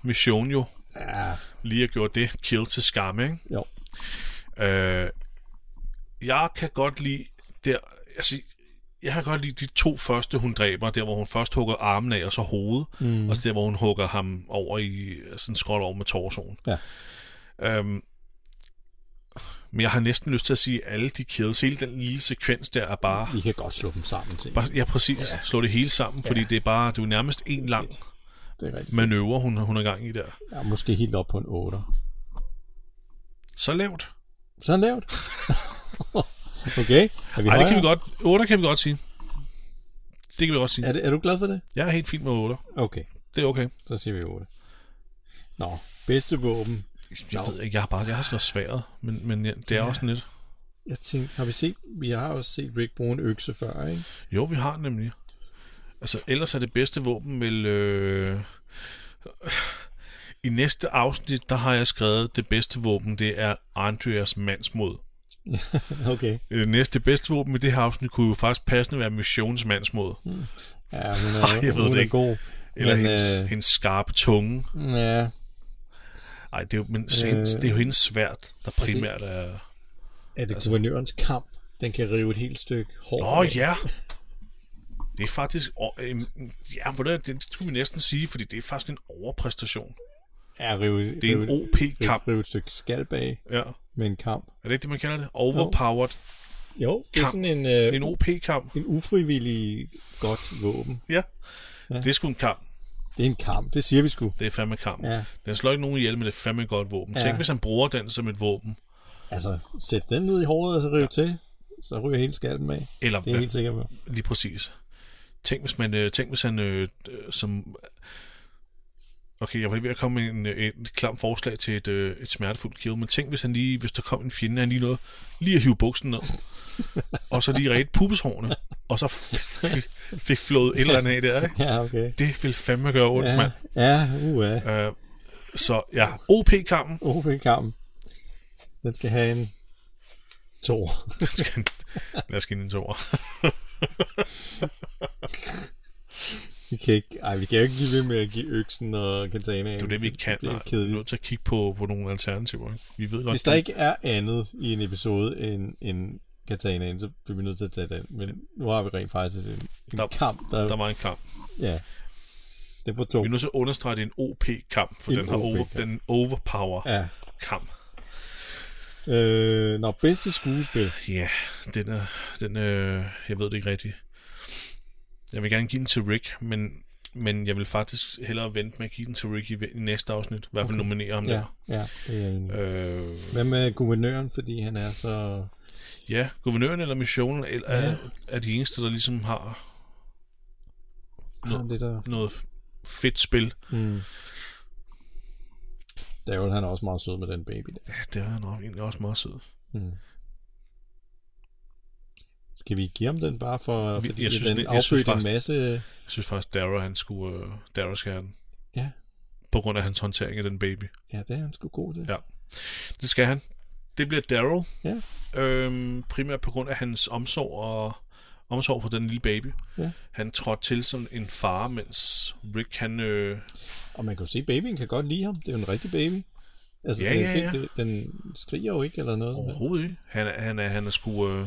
S1: Mission jo
S2: Ja,
S1: lige og gjorde det kill til skamme, ikke?
S2: jo.
S1: Øh, jeg kan godt lide der, altså, jeg kan godt lide de to første, hun dræber, der hvor hun først hugger armen af, og så hovedet, mm. og så der hvor hun hugger ham over i, sådan skråt over med torsoen.
S2: Ja.
S1: Øhm, men jeg har næsten lyst til at sige, at alle de kills, hele den lille sekvens der er bare,
S2: Vi kan godt slå dem sammen til.
S1: bare ja præcis, ja. slå det hele sammen, fordi det er bare, det er jo nærmest en lang
S2: Det er rigtigt.
S1: manøvre, hun, hun er gang i der.
S2: Ja, måske helt op på en 8.
S1: Så lavt.
S2: Så lavt. okay. Er vi
S1: Nej, det kan
S2: højere?
S1: vi godt, 8 kan vi godt sige. Det kan vi godt sige.
S2: Er, det, er du glad for det?
S1: Jeg er helt fint med 8.
S2: Okay,
S1: Det er okay.
S2: så siger vi 8. Nå, bedste våben.
S1: Jeg
S2: Nå.
S1: ved ikke, jeg har bare jeg har skrevet sværet, men, men ja, det er også lidt.
S2: Jeg tænkte, har vi set, vi har også set Rick bruge en økse før, ikke?
S1: Jo, vi har nemlig. Altså, ellers er det bedste våben vel... Øh... I næste afsnit, der har jeg skrevet, det bedste våben, det er Andreas mandsmod.
S2: Okay.
S1: Øh, Næste bedste våben i det her afsnit kunne jo faktisk passende være Missions mandsmod.
S2: Ja, hun er,
S1: Ej, jeg ved
S2: hun
S1: det
S2: er
S1: ikke.
S2: god.
S1: Eller Mm. men,
S2: men,
S1: hendes, øh... Mm.
S2: øh,
S1: hendes skarpe tunge.
S2: ja,
S1: Ej, det er jo, men hendes, det er jo hendes svært, der primært er...
S2: er det guvernørens kamp? Den kan rive et helt stykke hår.
S1: Altså- Nå
S2: af.
S1: ja. Det er faktisk... og, øhm, Ja, hvordan, det skulle vi næsten sige, fordi det er faktisk en overpræstation.
S2: ja rive,
S1: Det er en
S2: rive,
S1: OP-kamp.
S2: Rive et stykke skalp af
S1: Ja.
S2: med en kamp.
S1: Er det ikke det, man kalder det? Overpowered.
S2: Jo, det er
S1: Kamp.
S2: sådan en,
S1: Det er
S2: øh,
S1: en OP-kamp.
S2: en ufrivillig godt våben.
S1: Ja. Det er sgu en kamp.
S2: Det er en kamp, det siger vi sgu.
S1: Det er fandme kamp.
S2: Ja.
S1: Den slår ikke nogen ihjel, men det er fandme et godt våben.
S2: Ja.
S1: Tænk, hvis han bruger den som et våben.
S2: Altså, sæt den ned i håret og så rive ja. til. Så ryger hele skalpen af.
S1: Eller
S2: Det er jeg helt sikker på.
S1: lige præcis. Tænk, hvis, man, øh, tænk, hvis han øh, øh, som... Okay, jeg var lige ved at komme med en, øh, et klam forslag til et, øh, et smertefuldt kill, men tænk, hvis, han lige, hvis der kom en fjende, han lige nåede lige at hive buksen ned, og så lige ret pubeshårene, og så fik, fik flået et eller andet af der, ikke?
S2: Ja, okay.
S1: Det ville fandme gøre ondt,
S2: Ja,
S1: ja. mand.
S2: ja, uha. Oh,
S1: Øh, så ja, OP-kampen.
S2: OP-kampen. Den skal have en to.
S1: Lad os give den en toer.
S2: Vi kan ikke, ej, vi kan jo ikke blive ved med at give øksen og kantanaen.
S1: Det er jo det, vi kan.
S2: Det er
S1: og Vi er
S2: kedeligt.
S1: nødt til at kigge på, på nogle alternativer. Ikke? Vi ved godt,
S2: Hvis der ikke er andet i en episode end, end katanaen, så bliver vi nødt til at tage den. Men nu har vi rent faktisk en, en
S1: Der-
S2: kamp, der,
S1: der var en kamp.
S2: ja, den får to.
S1: Vi er nødt til at understrege, at det er en OP-kamp, for
S2: En
S1: den har over,
S2: OP-kamp.
S1: den overpower-kamp.
S2: Ja. Øh, nå, bedste skuespil.
S1: Ja, den er... Den, øh, jeg ved det ikke rigtigt. Jeg vil gerne give den til Rick, men, men jeg vil faktisk hellere vente med at give den til Rick i, i næste afsnit. I hvert fald okay. nominere ham
S2: Ja,
S1: der.
S2: ja, det er jeg enig. i.
S1: Øh,
S2: Hvad med guvernøren, fordi han er så...
S1: ja, guvernøren eller missionen eller,
S2: Ja.
S1: ja. er, er de eneste, der ligesom har
S2: Har han det der...
S1: noget fedt spil.
S2: Mm. Davel, han er også meget sød med den baby der.
S1: Ja, det er nok egentlig også meget sød.
S2: Mm. Skal vi give ham den bare for,
S1: Vi-
S2: fordi
S1: jeg synes,
S2: den
S1: det- jeg synes
S2: affødte en
S1: faktisk-
S2: masse...
S1: Jeg synes faktisk, Dara, han skulle, øh, Dara skal have den.
S2: Ja.
S1: På grund af hans håndtering af den baby.
S2: Ja, det er han sgu god til.
S1: Ja. Det skal han. Det bliver Daryl.
S2: Ja.
S1: Øhm, primært på grund af hans omsorg og omsorg for den lille baby.
S2: Ja.
S1: Han trådte til som en far, mens Rick han... Øh,
S2: Og man kan jo se, at babyen kan godt lide ham. Det er jo en rigtig baby. Altså,
S1: Ja,
S2: det er
S1: ja,
S2: fedt.
S1: ja.
S2: Det, den skriger jo ikke eller noget. som helst.
S1: overhovedet ikke. Han, er- han, er, han er sgu... Øh,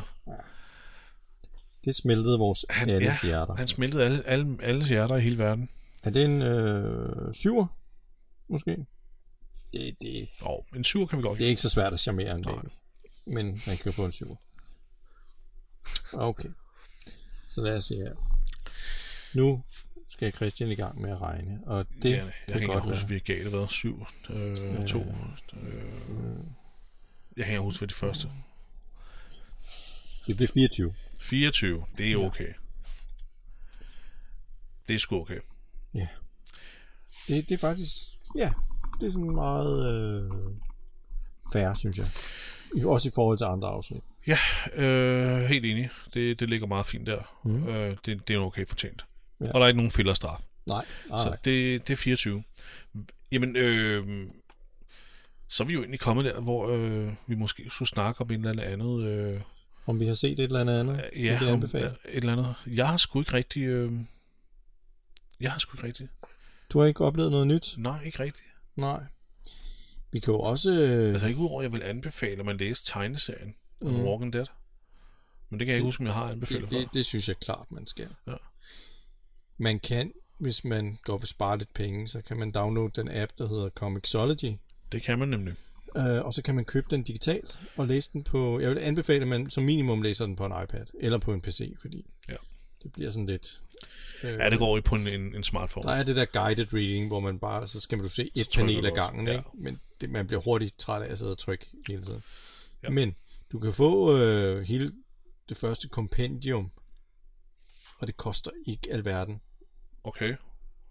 S2: Det smeltede vores
S1: han,
S2: alles hjerter.
S1: han smeltede alle, alle, alle hjerter i hele verden.
S2: Er det en øh, syver? Måske? Det, det,
S1: Og en syver kan vi godt
S2: Det
S1: give.
S2: er ikke så svært at charmere en baby. Men man kan jo få en syver. Okay. Så lad os se her. Nu skal Christian i gang med at regne, og det
S1: Ja, jeg
S2: ja,
S1: kan
S2: kan
S1: ikke
S2: godt
S1: engang huske,
S2: være.
S1: vi har galt været syv, øh, to, øh, jeg kan ikke huske, hvad de første.
S2: Mm. Det bliver 24.
S1: 24, det er okay. Det er sgu okay.
S2: Ja. Det, det er faktisk, ja, det er sådan meget øh, færre, synes jeg. I- Også i forhold til andre afsnit.
S1: Ja, øh, helt enig. Det, det ligger meget fint der. Mm. Øh, det, det er okay fortjent. Ja.
S2: Ja.
S1: Og der er ikke nogen fælder straf.
S2: Nej, nej,
S1: Så
S2: nej.
S1: det, det er 24. Jamen, øh, så er vi jo egentlig kommet der, hvor øh, vi måske skulle snakke om et eller andet. Øh,
S2: Om vi har set et eller andet andet,
S1: ja,
S2: det
S1: om-
S2: anbefale.
S1: et eller andet. Jeg har sgu ikke rigtig... Øh, jeg har sgu ikke rigtig...
S2: Du har ikke oplevet noget nyt?
S1: Nej, ikke rigtig.
S2: Nej. Vi kan jo også... Øh,
S1: Altså ikke udover, at jeg vil anbefale, at man læser tegneserien mm.
S2: Mm.
S1: Walking Dead. Men det kan jeg ikke huske, om jeg har anbefalet
S2: det,
S1: før.
S2: det, det synes jeg klart, man skal.
S1: Ja.
S2: Man kan, hvis man går for spare lidt penge, så kan man downloade den app, der hedder Comixology,
S1: Det kan man nemlig.
S2: øh, og så kan man købe den digitalt og læse den på... Jeg vil anbefale, at man som minimum læser den på en iPad eller på en PC, fordi
S1: Ja.
S2: det bliver sådan lidt... Øh,
S1: Ja, det går ikke på en, en, en smartphone.
S2: Der er det der guided reading, hvor man bare, så skal du se et
S1: trykker
S2: panel
S1: du
S2: ad
S1: også,
S2: gangen,
S1: ja.
S2: ikke? men det, man bliver hurtigt træt af at sidde og trykke hele tiden.
S1: Ja.
S2: Ja. Men du kan få øh, hele det første kompendium, og det koster ikke alverden,
S1: Okay.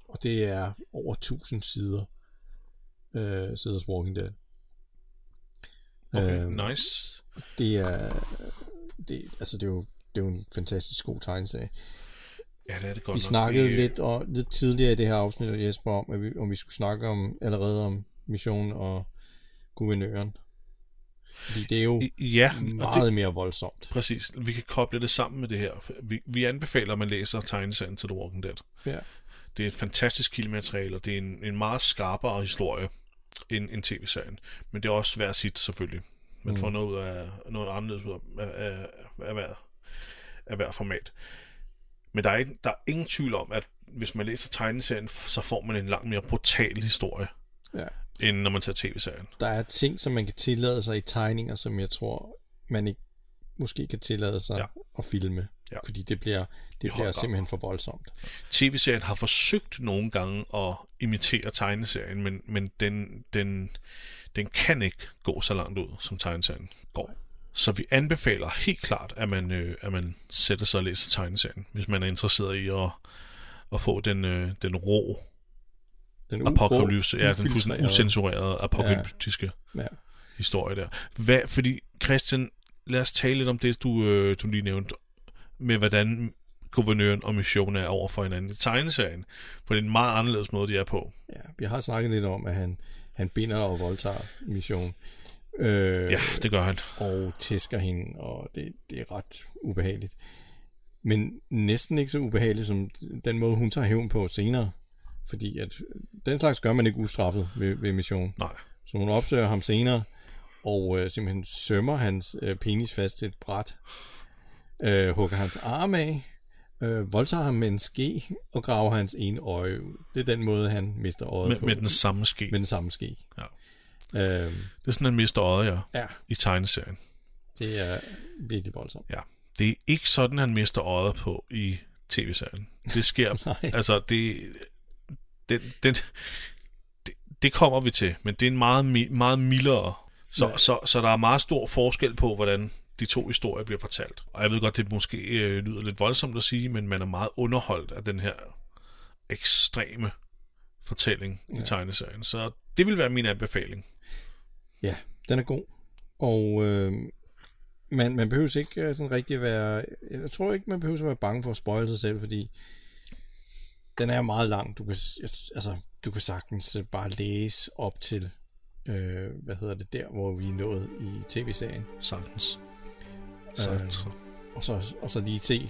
S2: og det er over 1000 sider, øh, siders Walking Dead.
S1: Okay,
S2: Øhm,
S1: nice.
S2: Det er, det, altså det er jo, det er jo en fantastisk god tegneserie.
S1: Ja, det er det godt
S2: Vi
S1: nok.
S2: snakkede
S1: Øh,
S2: lidt, og, lidt tidligere i det her afsnit, Jesper, om, at vi, om vi skulle snakke om allerede om missionen og guvernøren. Fordi det er jo
S1: I- Ja, og
S2: meget
S1: det,
S2: det... mere voldsomt.
S1: præcis. Vi kan koble det sammen med det her. For Vi, vi anbefaler, at man læser tegneserien til The Walking Dead.
S2: Ja.
S1: Det er et fantastisk kildemateriale, og det er en, en meget skarpere historie end, end tv-serien. Men det er også hver sit, selvfølgelig. Man mm. får noget ud af noget anderledes ud af, af, af, af, hver, af hver format. Men der er, ikke, der er ingen tvivl om, at hvis man læser tegneserien, så får man en langt mere brutal historie,
S2: Ja.
S1: end når man tager tv-serien.
S2: Der er ting, som man kan tillade sig i tegninger, som jeg tror, man ikke måske kan tillade sig
S1: Ja.
S2: ja. at filme.
S1: Ja.
S2: Ja. Fordi det bliver, det
S1: høj
S2: bliver
S1: grad.
S2: simpelthen for voldsomt.
S1: tv-serien har forsøgt nogle gange at imitere tegneserien, men, men den, den, den kan ikke gå så langt ud, som tegneserien går. Så vi anbefaler helt klart, at man, øh, at man sætter sig og læser tegneserien, hvis man er interesseret i at, at få den, øh, den rå
S2: Den u-
S1: apokalypse,
S2: Mm, rå,
S1: ja, den fuldstændig
S2: ufiltrerede-
S1: usensurerede apokalyptiske
S2: Ja.
S1: historie der. Hvad, fordi Christian, lad os tale lidt om det, du, øh, du lige nævnte, med hvordan guvernøren og missionen er over for hinanden i tegneserien. For det er en meget anderledes måde, de er på.
S2: Ja, vi har snakket lidt om, at han, han binder og voldtager mission. Øh,
S1: Ja, det gør han.
S2: og tæsker hende, og det, det er ret ubehageligt. Men næsten ikke så ubehageligt som den måde, hun tager hævn på senere. Fordi at den slags gør man ikke ustraffet ved, ved missionen.
S1: Nej.
S2: Så hun opsøger ham senere, og øh, simpelthen sømmer hans øh, penis fast til et bræt, øh, hugger hans arme af, øh, voldtager ham med en ske, og graver hans ene øje ud. Det er den måde, han mister øjet
S1: Med,
S2: på.
S1: med den samme ske.
S2: med den samme ske.
S1: Ja.
S2: Øh,
S1: Det er sådan, han mister øjet, ja,
S2: ja,
S1: i tegneserien.
S2: det er virkelig voldsomt.
S1: Ja. Det er ikke sådan, han mister øjet på i tv-serien. Det sker...
S2: Nej.
S1: altså, det, den, den, det... Det kommer vi til, men det er en meget, mi- meget mildere. Så, ja.
S2: Ja.
S1: så, så der er meget stor forskel på, hvordan de to historier bliver fortalt. Og jeg ved godt, det måske øh, lyder lidt voldsomt at sige, men man er meget underholdt af den her ekstreme fortælling ja. i tegneserien. Så det vil være min anbefaling.
S2: Ja, den er god. Og øh, man, man behøver ikke øh, sådan rigtig at være... Jeg tror ikke, man behøver at være bange for at spoil sig selv, fordi den er meget lang. Du kan, s- altså, du kan sagtens øh, bare læse op til, øh, hvad hedder det, der hvor vi er nået i tv-serien.
S1: Sagtens. Sagtens. Øh.
S2: Og så, og så lige se...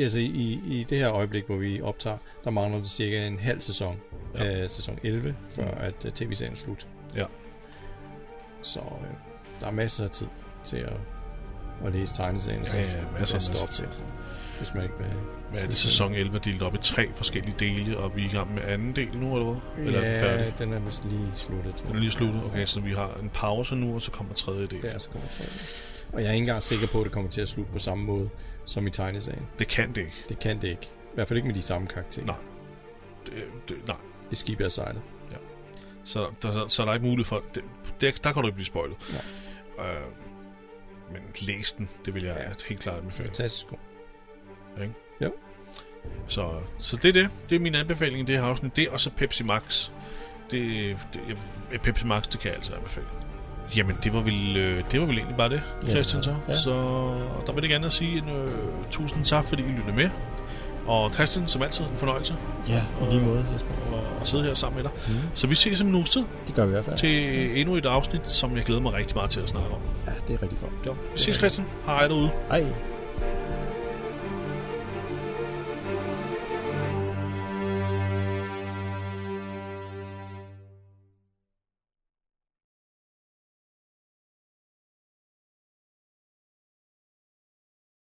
S2: Altså i, i det her øjeblik, hvor vi optager, der mangler det cirka en halv sæson ja. af sæson 11, før at øh, tv-serien er slut.
S1: Mm. Ja.
S2: Så øh, der er masser af tid til at, at læse tegneserien, og så
S1: Ja, ja, masser-
S2: at stoppe
S1: masser af
S2: til, hvis man ikke vil have...
S1: Hvad er det? Sæson 11 er delt op i tre forskellige dele, og vi er i gang med anden del nu, eller hvad? Eller er den
S2: Ja,
S1: færdig?
S2: den er vist lige sluttet, tror
S1: Den er lige sluttet. Okay, så vi har en pause nu, og så kommer tredje del. Ja.
S2: Der så kommer tredje. Og jeg er ikke engang sikker på, at det kommer til at slutte på samme måde som i tegneserien.
S1: Det kan det ikke.
S2: Det kan det ikke. I hvert fald ikke med de samme karakterer.
S1: Nej. Det, det, nej.
S2: Det skib jeg sejler.
S1: Så der, så, så er der ikke mulighed for... Det, der, der kan du ikke blive spoilet. Øh, men læs den, det vil jeg ja. helt klart anbefale.
S2: Fantastisk god.
S1: Ikke?
S2: Jo.
S1: Så, så det er det. Det er min anbefaling i det her afsnit. Det og så Pepsi Max. Det, det, jeg, Pepsi Max, det kan jeg altså anbefale. Jamen, det var vel, øh, det var vel egentlig bare det, Christian, så.
S2: ja.
S1: Ja. Så der vil jeg gerne at sige en øh, tusind tak, fordi I lyttede med. Og Christian, som altid, en fornøjelse
S2: Ja, i lige måde, Jesper.
S1: at- at sidde her sammen med dig. Mm. Så vi ses om en uges tid
S2: Det gør vi i hvert fald.
S1: til endnu et afsnit, som jeg glæder mig rigtig meget til at snakke om.
S2: Ja, det er rigtig godt.
S1: Jo. Vi ses, Christian. Hej derude.
S2: Hej.